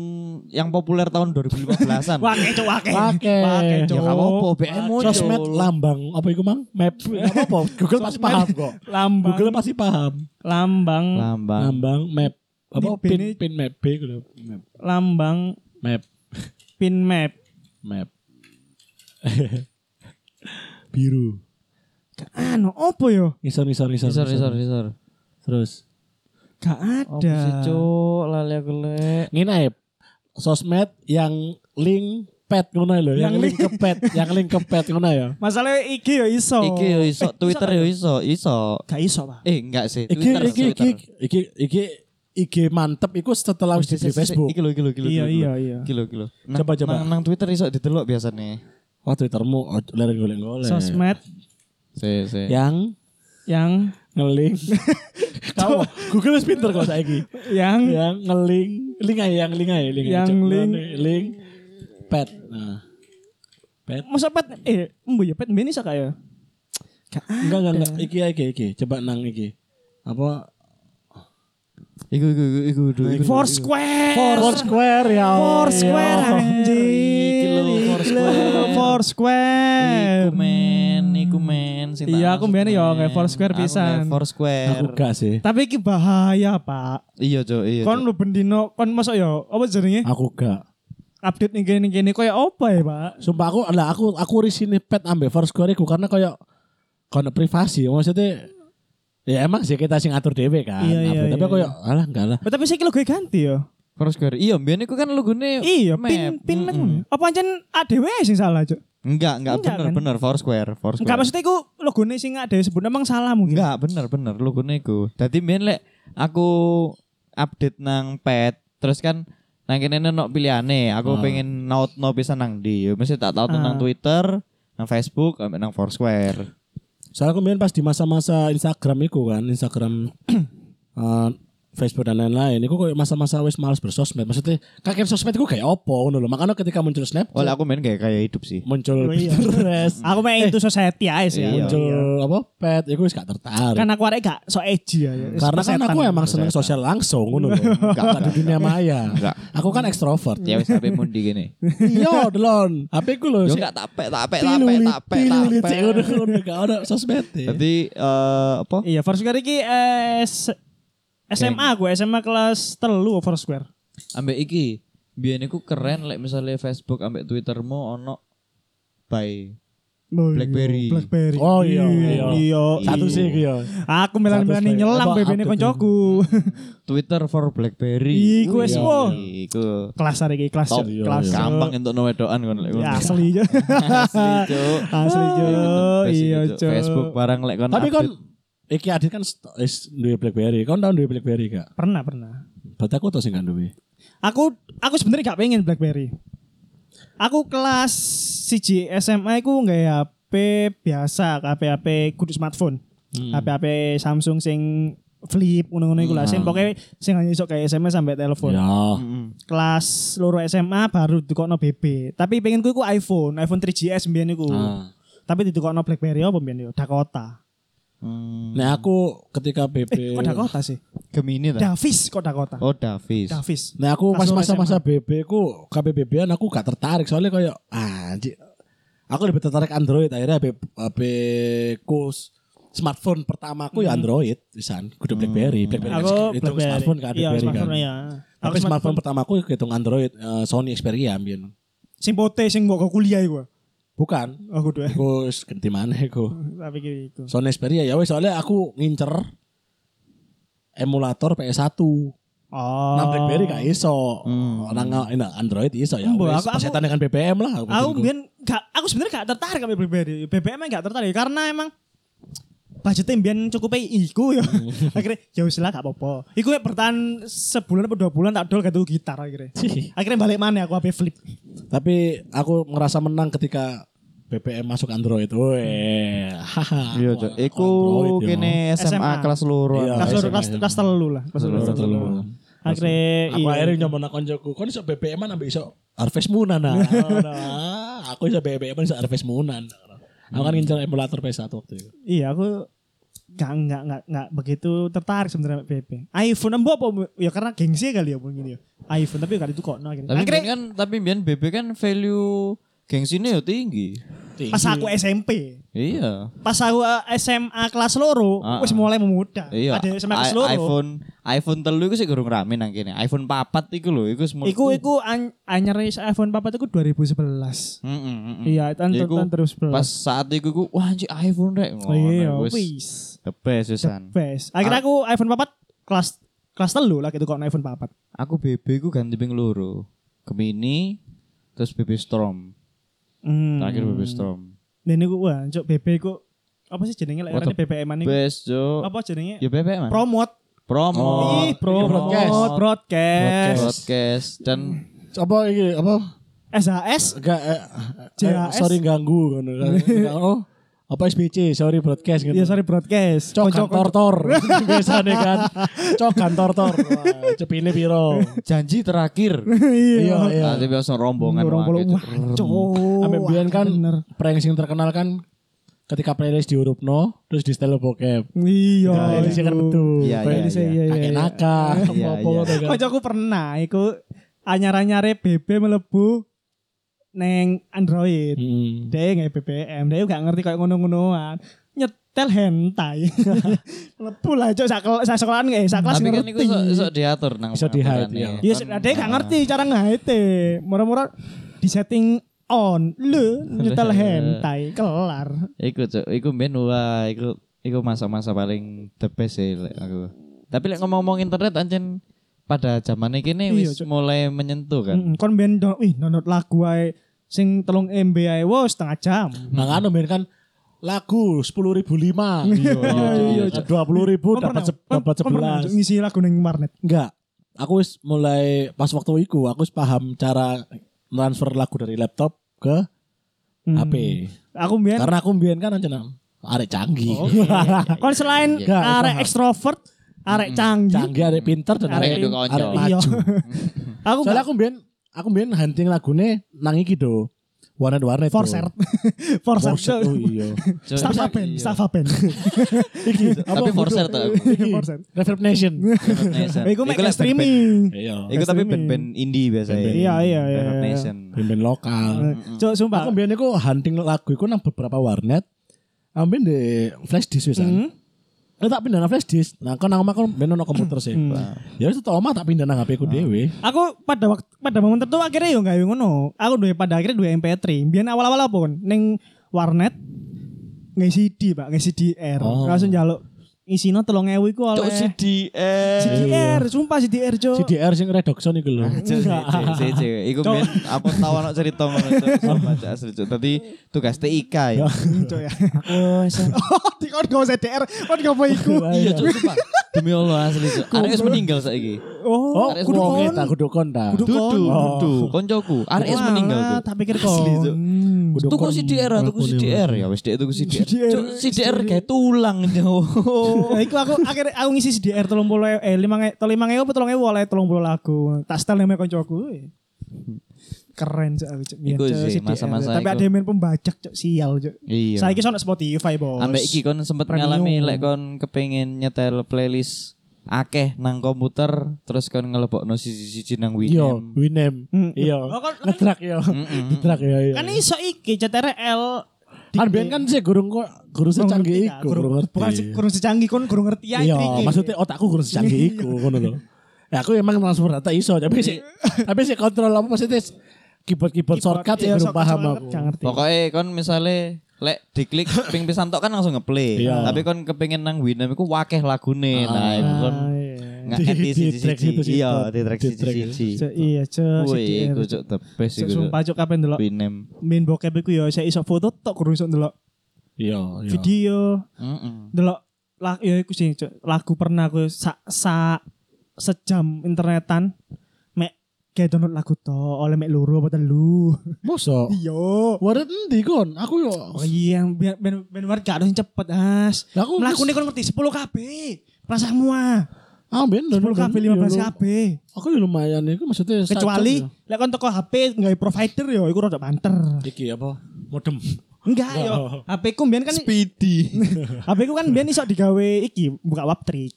[SPEAKER 1] yang populer tahun 2015-an.
[SPEAKER 2] Wah, keco wake.
[SPEAKER 3] Wake.
[SPEAKER 1] Ya gak apa-apa, BM muncul.
[SPEAKER 3] Sosmed lambang apa itu mang? Map. Gak apa-apa. Google pasti
[SPEAKER 2] Sosmed.
[SPEAKER 3] paham kok.
[SPEAKER 2] Lambang.
[SPEAKER 3] Google pasti paham.
[SPEAKER 2] Lambang.
[SPEAKER 1] lambang.
[SPEAKER 3] Lambang map. Apa
[SPEAKER 2] Di
[SPEAKER 3] pin
[SPEAKER 2] bini-
[SPEAKER 3] pin map B gitu. Map.
[SPEAKER 2] Lambang
[SPEAKER 3] Map.
[SPEAKER 2] pin map.
[SPEAKER 3] Map. Biru.
[SPEAKER 2] Anu opo yo?
[SPEAKER 3] Nisor, nisor, nisor.
[SPEAKER 1] Isor isor
[SPEAKER 3] nisor.
[SPEAKER 1] isor.
[SPEAKER 3] Terus.
[SPEAKER 2] Gak
[SPEAKER 1] Apa sih
[SPEAKER 2] ada.
[SPEAKER 1] cuk lali aku lek.
[SPEAKER 3] Ngene ae, sosmed yang link pet ngono lho,
[SPEAKER 2] Yang
[SPEAKER 3] yang, link ke pet, yang link ke pet ngono ya.
[SPEAKER 2] Masalahnya IG ya iso.
[SPEAKER 1] Iki yo iso, Twitter yo iso, iso.
[SPEAKER 2] Gak iso, Pak.
[SPEAKER 1] Eh enggak sih,
[SPEAKER 3] Iki
[SPEAKER 1] Twitter,
[SPEAKER 3] iki iki
[SPEAKER 1] Twitter.
[SPEAKER 3] iki iki IG mantep iku setelah wis di Facebook.
[SPEAKER 1] Iki lho, iki lho, iki lho.
[SPEAKER 2] Iya,
[SPEAKER 1] iki lho.
[SPEAKER 2] iya, iya.
[SPEAKER 1] Iki lho, iki lho. Nang-
[SPEAKER 3] Coba, coba.
[SPEAKER 1] Nang, nang Twitter iso ditelok biasanya.
[SPEAKER 3] Oh Twittermu oh, leren
[SPEAKER 1] iya.
[SPEAKER 3] golek-golek.
[SPEAKER 2] Sosmed
[SPEAKER 1] Si, si.
[SPEAKER 3] Yang
[SPEAKER 2] yang
[SPEAKER 3] ngeling. Tahu Google wis pinter kok saiki.
[SPEAKER 2] yang
[SPEAKER 1] Iya.
[SPEAKER 3] yang ngeling, link aja yang link aja, link aja.
[SPEAKER 2] Yang
[SPEAKER 3] Coba
[SPEAKER 2] link.
[SPEAKER 3] nih, link pet. Nah. Pet.
[SPEAKER 2] masa pet eh mbu ya pet mbene iso
[SPEAKER 1] Iya,
[SPEAKER 2] kaya. Gak
[SPEAKER 3] Enggak enggak enggak iki iki iki. Coba nang iki. Apa
[SPEAKER 1] Iku iku iku iku iku. iku.
[SPEAKER 2] Four square.
[SPEAKER 1] iya.
[SPEAKER 2] Four
[SPEAKER 3] Foursquare ya.
[SPEAKER 2] square
[SPEAKER 1] Iki
[SPEAKER 2] anjir.
[SPEAKER 1] lho, Foursquare.
[SPEAKER 2] Four square.
[SPEAKER 1] Iku men, iku men. sing tak
[SPEAKER 2] Hmm. Iya, aku
[SPEAKER 1] maksud,
[SPEAKER 2] mbiyane ya
[SPEAKER 1] men.
[SPEAKER 2] kayak Foursquare
[SPEAKER 1] Aku
[SPEAKER 2] pisan.
[SPEAKER 1] kayak Foursquare.
[SPEAKER 3] Aku gak sih.
[SPEAKER 2] Tapi iki bahaya, Pak.
[SPEAKER 1] Iya, Cuk, iya.
[SPEAKER 2] Kon
[SPEAKER 1] Cuk.
[SPEAKER 2] lu bendino, kon masuk ya apa jenenge?
[SPEAKER 3] Aku gak.
[SPEAKER 2] Update ning kene kene koyo apa ya, Pak?
[SPEAKER 3] Sumpah aku lah aku aku risine pet ambe Foursquare iku karena koyo kono privasi. Maksudnya ya emang sih kita sing atur dhewe kan.
[SPEAKER 2] Iya,
[SPEAKER 3] Apa,
[SPEAKER 2] iya,
[SPEAKER 3] tapi
[SPEAKER 2] iya,
[SPEAKER 3] aku
[SPEAKER 2] iya.
[SPEAKER 3] ya alah enggak lah.
[SPEAKER 2] Oh, Tapi saya kira gue ganti ya.
[SPEAKER 1] Foursquare. Iya, mbiyane iku kan logone
[SPEAKER 2] Iya,
[SPEAKER 1] map.
[SPEAKER 2] pin pin
[SPEAKER 1] Mm-mm.
[SPEAKER 2] nang ngono. Apa ancen ADW sing salah, Cuk?
[SPEAKER 1] Enggak, enggak
[SPEAKER 2] Enggak,
[SPEAKER 1] bener
[SPEAKER 2] kan?
[SPEAKER 1] bener Foursquare, Foursquare.
[SPEAKER 2] Enggak maksudnya iku logone sing ADW sebut emang salah mungkin.
[SPEAKER 1] Enggak, bener bener logone iku. Dadi mbiyen lek aku update nang pet, terus kan nang kene ono pilihane, aku
[SPEAKER 2] Ah.
[SPEAKER 1] pengen nautno pisan nang ndi. Ya mesti tak tautno nang Twitter, nang Facebook, ambek nang Foursquare.
[SPEAKER 3] Soalnya kemudian pas di masa-masa Instagram iku kan, Instagram eh, Facebook dan lain-lain, itu kayak masa-masa wis males bersosmed. Maksudnya kakek sosmed itu kayak opo ngono lho. Makanya ketika muncul snap,
[SPEAKER 1] Oleh aku main kayak kayak hidup sih.
[SPEAKER 3] muncul
[SPEAKER 2] Oh, iya.
[SPEAKER 3] Pinterest,
[SPEAKER 2] Aku main itu society aja sih.
[SPEAKER 1] Iya.
[SPEAKER 3] muncul apa pet, itu wis gak tertarik.
[SPEAKER 2] Kan aku arek gak so edgy ya.
[SPEAKER 3] iya. Karena kan aku emang seneng sosial langsung ngono lho. Gak di dunia maya.
[SPEAKER 1] Enggak.
[SPEAKER 3] Aku kan ekstrovert.
[SPEAKER 1] Ya wis HP mundi gini.
[SPEAKER 3] Iya, delon. HP ku lho.
[SPEAKER 1] Yo
[SPEAKER 3] sik
[SPEAKER 1] enggak tak pek, tak pek, tak
[SPEAKER 3] tilu
[SPEAKER 1] pek,
[SPEAKER 3] li-
[SPEAKER 1] tak pek,
[SPEAKER 3] tilu
[SPEAKER 1] tak
[SPEAKER 3] li-
[SPEAKER 1] pek.
[SPEAKER 3] cek ngono, ngono. Gak ada sosmed. e.
[SPEAKER 1] Dadi eh, apa?
[SPEAKER 2] Iya, Foursquare iki eh, s- SMA gue, SMA kelas telu Foursquare.
[SPEAKER 1] Ambek iki, biyen iku keren lek misalnya Facebook ambek Twittermu ono by Blackberry.
[SPEAKER 2] Blackberry.
[SPEAKER 3] Oh, iya, iya.
[SPEAKER 2] Iya.
[SPEAKER 3] Satu sih iki ya.
[SPEAKER 2] Aku melan-melani
[SPEAKER 3] Satu
[SPEAKER 2] nyelang
[SPEAKER 3] Blackberry.
[SPEAKER 2] BB ini koncoku.
[SPEAKER 1] Twitter for BlackBerry.
[SPEAKER 2] Iku wis
[SPEAKER 1] Iya,
[SPEAKER 2] oh.
[SPEAKER 1] Iku.
[SPEAKER 2] Kelas hari iki kelas
[SPEAKER 1] Top.
[SPEAKER 3] iya.
[SPEAKER 2] kelas.
[SPEAKER 1] gampang untuk no wedokan kon lek
[SPEAKER 2] Ya,
[SPEAKER 1] ngono.
[SPEAKER 2] asli aja.
[SPEAKER 1] Asli, Cuk.
[SPEAKER 2] Asli Jo.
[SPEAKER 1] Basic,
[SPEAKER 2] Iya,
[SPEAKER 1] Cuk.
[SPEAKER 2] Jo.
[SPEAKER 1] Facebook barang lek kon.
[SPEAKER 3] Tapi kon
[SPEAKER 1] update.
[SPEAKER 3] iki Adit kan st- is duwe BlackBerry. Kon tau duwe BlackBerry gak?
[SPEAKER 2] Pernah, pernah.
[SPEAKER 3] Berarti aku tau sih gak duwe.
[SPEAKER 2] Aku aku sebenarnya gak pengen BlackBerry. Aku kelas siji SMA aku nggak HP biasa, HP HP kudu smartphone.
[SPEAKER 3] Hmm.
[SPEAKER 2] HP HP Samsung sing flip ngono-ngono iku lah. Sing pokoke sing hanya iso kayak SMS sampai telepon.
[SPEAKER 3] Hmm. Ya.
[SPEAKER 1] Mm-mm.
[SPEAKER 2] Kelas loro SMA baru dikokno BB. Tapi pengen ku iku iPhone, iPhone 3GS mbiyen iku.
[SPEAKER 3] Ah.
[SPEAKER 2] Tapi didukokno BlackBerry apa mbiyen yo? Dakota.
[SPEAKER 1] Hmm.
[SPEAKER 3] Nah aku ketika
[SPEAKER 2] Eh,
[SPEAKER 3] BB
[SPEAKER 2] kok Dakota sih?
[SPEAKER 1] Gemini ta?
[SPEAKER 2] Davis kok Dakota.
[SPEAKER 1] Oh, Davis.
[SPEAKER 2] Davis.
[SPEAKER 3] Nah aku pas
[SPEAKER 2] Pas lu
[SPEAKER 3] masa-masa BB ku KBBB an aku gak tertarik soalnya kayak ah anjir. Aku lebih tertarik Android akhirnya HP, HP ku s- smartphone pertamaku ya Android pisan kudu BlackBerry BlackBerry kan
[SPEAKER 2] Aku
[SPEAKER 3] hitung
[SPEAKER 2] BlackBerry.
[SPEAKER 3] smartphone kan
[SPEAKER 2] Iya,
[SPEAKER 3] BlackBerry kan
[SPEAKER 2] smartphone ya.
[SPEAKER 3] tapi
[SPEAKER 2] Aku
[SPEAKER 3] smartphone pertamaku hitung Android eh, Sony Xperia ambien
[SPEAKER 2] sing pote sing mbok go kuliah iku.
[SPEAKER 3] bukan
[SPEAKER 2] Aku duwe.
[SPEAKER 3] aku s- ganti mana aku
[SPEAKER 2] Tapi kira iku.
[SPEAKER 3] Sony Xperia ya wes soalnya aku ngincer emulator PS1
[SPEAKER 2] Oh.
[SPEAKER 3] Nah BlackBerry gak iso Nah, nggak- nah, Android iso ya
[SPEAKER 2] Mbak,
[SPEAKER 3] wes
[SPEAKER 2] aku- aku-
[SPEAKER 3] persetan dengan BBM lah
[SPEAKER 2] Aku mbiyen gak aku sebenarnya gak tertarik sama BlackBerry. BBM e gak tertarik karena emang budgetnya mbiyen cukup iku ya. akhirnya ya wis lah gak apa-apa. Iku ya bertahan sebulan atau dua bulan tak dol gitu gitar akhirnya. akhirnya balik mana aku HP flip.
[SPEAKER 3] Tapi aku ngerasa menang ketika BBM masuk Android. Weh. haha.
[SPEAKER 1] Iya, Cuk. Iku
[SPEAKER 3] Android, iya. ya. yo.
[SPEAKER 1] kene SMA,
[SPEAKER 2] SMA.
[SPEAKER 1] kelas loro.
[SPEAKER 3] Iya.
[SPEAKER 2] Kelas loro
[SPEAKER 3] SMA,
[SPEAKER 2] kelas
[SPEAKER 3] iya.
[SPEAKER 2] kelas telu lah. Kelas loro, kelas telu. Akhirnya iya.
[SPEAKER 3] Aku akhirnya nyoba nak konjoku. Kon iso BBM an ambek iso Harvest Moon ana. Nah, aku iso BBM an iso Harvest Moon ana. Aku kan ngincer emulator PS1 waktu itu.
[SPEAKER 2] Iya aku nggak nggak nggak nggak begitu tertarik sebenarnya PP. iPhone embo apa ya karena gengsi kali ya mungkin ya. iPhone tapi kali itu kok no akhirnya.
[SPEAKER 1] Tapi mbiyen
[SPEAKER 2] Akhirnya
[SPEAKER 1] kan tapi mbiyen BB kan value gengsinya yo tinggi.
[SPEAKER 2] pas aku SMP,
[SPEAKER 1] Iya.
[SPEAKER 2] pas aku eh, SMA kelas loro,
[SPEAKER 1] Ah, ah.
[SPEAKER 2] wis mulai memudar.
[SPEAKER 1] Iya.
[SPEAKER 2] Ada SMA
[SPEAKER 1] I-
[SPEAKER 2] kelas loro.
[SPEAKER 1] iPhone iPhone telu iku sik gurung rame nang kene. iPhone papat iku lho, iku semua.
[SPEAKER 2] Iku iku an- anyar is iPhone papa itu 2011.
[SPEAKER 1] Mm, mm, mm, mm.
[SPEAKER 2] Iya, tahun
[SPEAKER 1] Iku
[SPEAKER 2] tahun terus belas.
[SPEAKER 1] Pas saat iku iku wah anjir iPhone rek ngono.
[SPEAKER 2] iya,
[SPEAKER 1] wis. Ah.
[SPEAKER 2] wis.
[SPEAKER 1] The best sisan.
[SPEAKER 2] Best. Akhirnya aku iPhone papat kelas kelas telu lah gitu kok no iPhone papat.
[SPEAKER 1] Aku BB ku ganti ping loro. Gemini terus BB Storm
[SPEAKER 2] Hmm.
[SPEAKER 1] terakhir BB Storm
[SPEAKER 2] Dan niku wah, cok BB ku apa sih jenenge lek
[SPEAKER 1] What
[SPEAKER 2] arane
[SPEAKER 1] the
[SPEAKER 2] BBM an iku?
[SPEAKER 1] best jo
[SPEAKER 2] Hmm. Apa jenenge?
[SPEAKER 1] ya BBM man.
[SPEAKER 2] Promote.
[SPEAKER 1] promo
[SPEAKER 2] Ih, promote
[SPEAKER 3] broadcast.
[SPEAKER 2] broadcast.
[SPEAKER 1] podcast dan
[SPEAKER 3] Apa iki apa
[SPEAKER 2] SHS
[SPEAKER 3] enggak eh, eh,
[SPEAKER 2] JHS.
[SPEAKER 3] sorry ganggu ngono. Oh, apa SBC, sorry broadcast gitu.
[SPEAKER 2] ya sorry broadcast.
[SPEAKER 3] Cok
[SPEAKER 2] Konco-
[SPEAKER 3] kantor tor. Biasa nih kan. Cok kantor tor. Wah, Cepine piro.
[SPEAKER 1] janji terakhir
[SPEAKER 3] Iya, iya.
[SPEAKER 1] nanti biasa rombongan
[SPEAKER 2] Ya. Hmm, Rombongan.
[SPEAKER 1] wah,
[SPEAKER 2] Wah,
[SPEAKER 1] gitu.
[SPEAKER 2] cok.
[SPEAKER 3] Ambil biyen kan
[SPEAKER 2] Bener.
[SPEAKER 3] prank sing terkenal kan ketika playlist diurupno terus di setel bokep.
[SPEAKER 2] Iya.
[SPEAKER 3] Playlist kan betul.
[SPEAKER 1] Iya,
[SPEAKER 2] Iya,
[SPEAKER 3] Playlist
[SPEAKER 2] iya, iya, iya.
[SPEAKER 3] kakek nakal.
[SPEAKER 1] Iya,
[SPEAKER 3] Apa-apa
[SPEAKER 1] iya.
[SPEAKER 3] ngono kan.
[SPEAKER 2] Kocokku pernah iku anyar-anyare BB melebu neng Android.
[SPEAKER 3] Mm.
[SPEAKER 2] Dia nggak BBM, dia nggak ngerti kayak ngono-ngonoan. Nyetel hentai. Lepu lah cok sak sak sekolahan nggak, sak kelas
[SPEAKER 1] tapi kan
[SPEAKER 2] ngerti.
[SPEAKER 1] itu iso, iso diatur nang
[SPEAKER 3] Iso di-hide,
[SPEAKER 1] pengaturannya.
[SPEAKER 3] iya.
[SPEAKER 2] Ya sih, dia nggak ngerti cara ngehite. Murah-murah di setting on lu nyetel hentai kelar.
[SPEAKER 1] Iku cok, iku ben wah, iku iku masa-masa paling the best sih lek aku. Tapi lek ngomong-ngomong internet anjen pada zaman ini
[SPEAKER 2] Iya,
[SPEAKER 1] wis
[SPEAKER 2] Cuk.
[SPEAKER 1] mulai menyentuh kan.
[SPEAKER 2] Mm, Kon ben do- wih download lagu ae sing telung MB ae wow setengah jam.
[SPEAKER 3] Nah kan Ben kan lagu sepuluh ribu lima,
[SPEAKER 2] iya,
[SPEAKER 3] dua puluh ribu
[SPEAKER 2] Kon
[SPEAKER 3] dapat
[SPEAKER 2] pernah-
[SPEAKER 3] se- dapat
[SPEAKER 2] kon- kon pernah
[SPEAKER 3] sebelas.
[SPEAKER 2] Cuk, ngisi lagu neng warnet.
[SPEAKER 3] Enggak, aku wis mulai pas waktu itu aku wis paham cara transfer lagu dari laptop ke
[SPEAKER 2] Hmm.
[SPEAKER 3] HP.
[SPEAKER 2] Aku Oh, iya, mbien
[SPEAKER 3] Karena aku mbien kan aja arek canggih, iya,
[SPEAKER 1] Iya,
[SPEAKER 2] kon selain
[SPEAKER 3] Nggak,
[SPEAKER 2] arek
[SPEAKER 3] paham.
[SPEAKER 2] ekstrovert,
[SPEAKER 1] Hmm.
[SPEAKER 2] arek canggih.
[SPEAKER 3] canggih arek pinter dan
[SPEAKER 2] Arek
[SPEAKER 3] arek
[SPEAKER 1] edu konyol.
[SPEAKER 3] arek
[SPEAKER 2] Iya.
[SPEAKER 3] maju.
[SPEAKER 2] Aku
[SPEAKER 3] Soalnya aku mbien aku mbien hunting lagune nang iki do. Warnet warnet. do.
[SPEAKER 2] Forser. Forser.
[SPEAKER 3] Forser. Oh iya.
[SPEAKER 1] Cuk,
[SPEAKER 2] Stafa
[SPEAKER 1] iya.
[SPEAKER 2] Ben, Stafa Ben.
[SPEAKER 3] Iki
[SPEAKER 1] Tapi
[SPEAKER 3] apa, Iya,
[SPEAKER 1] forser
[SPEAKER 3] kudu-
[SPEAKER 1] tuh aku.
[SPEAKER 2] Iki Forser.
[SPEAKER 3] Reverb Nation.
[SPEAKER 1] Reverb
[SPEAKER 2] Iku mek
[SPEAKER 1] Nation.
[SPEAKER 2] kayak streaming.
[SPEAKER 3] Iya.
[SPEAKER 1] Iku tapi
[SPEAKER 2] Streaming.
[SPEAKER 1] band-band indie biasa ya.
[SPEAKER 2] Iya, iya, iya,
[SPEAKER 1] Reverb
[SPEAKER 2] iya.
[SPEAKER 1] Nation.
[SPEAKER 3] Band lokal.
[SPEAKER 2] Cok Eh, sumpah.
[SPEAKER 3] Aku biasanya aku hunting lagu iku nang beberapa warnet. Ambil di flash disk
[SPEAKER 2] Hmm?
[SPEAKER 3] wisan. Eh tak pindah nang flash disk. Nah kan nang omah kan ben ono komputer sih.
[SPEAKER 2] Hmm.
[SPEAKER 3] Ya wis tak omah tak pindah nang HP ku dhewe.
[SPEAKER 2] Aku pada waktu pada momen tertentu akhirnya yo nggak ngono. Aku duwe pada akhirnya duwe MP3. Biyen awal-awal apa kon ning warnet ngisi CD, Pak, ngisi DR.
[SPEAKER 3] Oh.
[SPEAKER 2] Langsung njaluk isine 3000 iku
[SPEAKER 1] Cuk eh.
[SPEAKER 2] oleh
[SPEAKER 1] CDR.
[SPEAKER 2] CDR, sumpah CDR, Cok.
[SPEAKER 3] CDR sing Redoxon iku lho.
[SPEAKER 1] Cuk, cek, cek, cek. Iku ben apa tau ana cerita ngono cuk. Sumpah, cuk, asli cuk. Tadi tugas TIK ya.
[SPEAKER 2] Cok ya. Oh, di kon gak usah DR, kon gak apa iku.
[SPEAKER 1] Iya cuk, sumpah. Demi Allah asli cuk. Arek wis meninggal saiki.
[SPEAKER 2] Oh,
[SPEAKER 3] Oh, kudu
[SPEAKER 2] kon.
[SPEAKER 3] kon ta, kudu kon ta.
[SPEAKER 2] Kudu
[SPEAKER 1] Dudu,
[SPEAKER 2] kon.
[SPEAKER 3] Oh.
[SPEAKER 1] dudu, koncoku. Arek wis meninggal
[SPEAKER 2] Walah,
[SPEAKER 1] cuk.
[SPEAKER 2] Tak pikir
[SPEAKER 1] Asli, Cuk.
[SPEAKER 2] kon.
[SPEAKER 3] Kudu
[SPEAKER 1] Tuku
[SPEAKER 3] kon
[SPEAKER 1] CDR, tuku
[SPEAKER 3] lakune.
[SPEAKER 1] CDR ya wis dek tuku CDR.
[SPEAKER 2] CDR,
[SPEAKER 1] Cuk, CDR kayak tulang jauh. Oh.
[SPEAKER 2] Nah, iku aku akhirnya aku ngisi CDR telung puluh eh lima nge- telu lima ewu telung ewu oleh telung puluh lagu. Tak setel nama koncoku. eh. Keren cok aku cok. Biyen,
[SPEAKER 1] Iku
[SPEAKER 2] Cok,
[SPEAKER 1] sih,
[SPEAKER 2] CDR.
[SPEAKER 1] masa-masa
[SPEAKER 2] Tapi
[SPEAKER 1] iku.
[SPEAKER 2] ada yang main pembajak cok sial cok.
[SPEAKER 1] Iya.
[SPEAKER 2] Saiki sono Spotify bos.
[SPEAKER 1] Ambek iki kon sempet
[SPEAKER 2] Premium.
[SPEAKER 1] ngalami lek kon kepengin nyetel playlist akeh nang komputer terus kon ngelebokno siji-siji nang
[SPEAKER 3] Iya,
[SPEAKER 1] Winamp.
[SPEAKER 3] Winem.
[SPEAKER 2] Hmm.
[SPEAKER 3] Iya.
[SPEAKER 2] Oh, kon-
[SPEAKER 3] Ngetrak ya. Ngetrak ya. iya.
[SPEAKER 2] Kan iso iki CTRL
[SPEAKER 3] Kan biyen kan sih gurung kok
[SPEAKER 2] Kurang
[SPEAKER 3] gurung
[SPEAKER 2] ngerti,
[SPEAKER 3] secanggih
[SPEAKER 2] Kak.
[SPEAKER 3] iku,
[SPEAKER 2] Kurang-
[SPEAKER 3] gurung ngerti.
[SPEAKER 2] Bukan se- kurang secanggih kon kurang ngerti ya
[SPEAKER 3] Iya,
[SPEAKER 2] iki. Iya.
[SPEAKER 3] maksudnya otakku kurang secanggih iku ngono lho. Ya aku emang transfer data iso, tapi sih tapi sih kontrol apa maksudnya keyboard-keyboard shortcut sih
[SPEAKER 2] Iya,
[SPEAKER 3] belum
[SPEAKER 2] sok-
[SPEAKER 3] paham
[SPEAKER 2] sok-
[SPEAKER 3] aku.
[SPEAKER 2] gak ngerti.
[SPEAKER 1] Pokoknya kon misalnya lek diklik ping pisan tok kan langsung ngeplay.
[SPEAKER 3] Iya.
[SPEAKER 1] Tapi kon kepengin nang Winamp iku wakeh lagune. Nah, iku kon
[SPEAKER 2] Ah, iya.
[SPEAKER 1] nge-edit
[SPEAKER 3] Di- di track situ,
[SPEAKER 1] siji-siji. Iya,
[SPEAKER 3] situ.
[SPEAKER 1] di track
[SPEAKER 3] Di track.
[SPEAKER 1] siji-siji.
[SPEAKER 2] Cok, Iya cok
[SPEAKER 1] Gitu. Woi,
[SPEAKER 2] CDR.
[SPEAKER 1] iku cuk the best
[SPEAKER 2] Cok,
[SPEAKER 1] iku.
[SPEAKER 2] Sumpah
[SPEAKER 1] Cuk.
[SPEAKER 2] cok kapan ndelok
[SPEAKER 1] Winamp.
[SPEAKER 2] main bokep iku ya saya iso foto tok kurang iso ndelok
[SPEAKER 3] Iya, iya.
[SPEAKER 2] video
[SPEAKER 1] Heeh.
[SPEAKER 2] delok lagu ya iku sih Cuk. lagu pernah aku sak sa, sejam internetan mek kayak download lagu to oleh mek luru apa telu
[SPEAKER 3] Mosok.
[SPEAKER 2] iya
[SPEAKER 3] Waret endi kon? Aku yo.
[SPEAKER 2] oh iya ben ben ben war gak ada yang cepet as
[SPEAKER 3] Lah, aku-
[SPEAKER 2] melaku nih kon ngerti 10 kb rasa semua
[SPEAKER 3] Ah ben
[SPEAKER 2] 10 kb 15 kb
[SPEAKER 3] Aku yo lumayan iku maksudnya sak
[SPEAKER 2] kecuali
[SPEAKER 3] jam ya.
[SPEAKER 2] lek kon teko HP nggak provider yo iku rada banter
[SPEAKER 3] iki apa? Modem.
[SPEAKER 2] enggak
[SPEAKER 3] Oh.
[SPEAKER 2] yo HP ku mbiyen kan
[SPEAKER 1] Speedy.
[SPEAKER 2] HP ku kan mbiyen iso digawe iki buka webtrick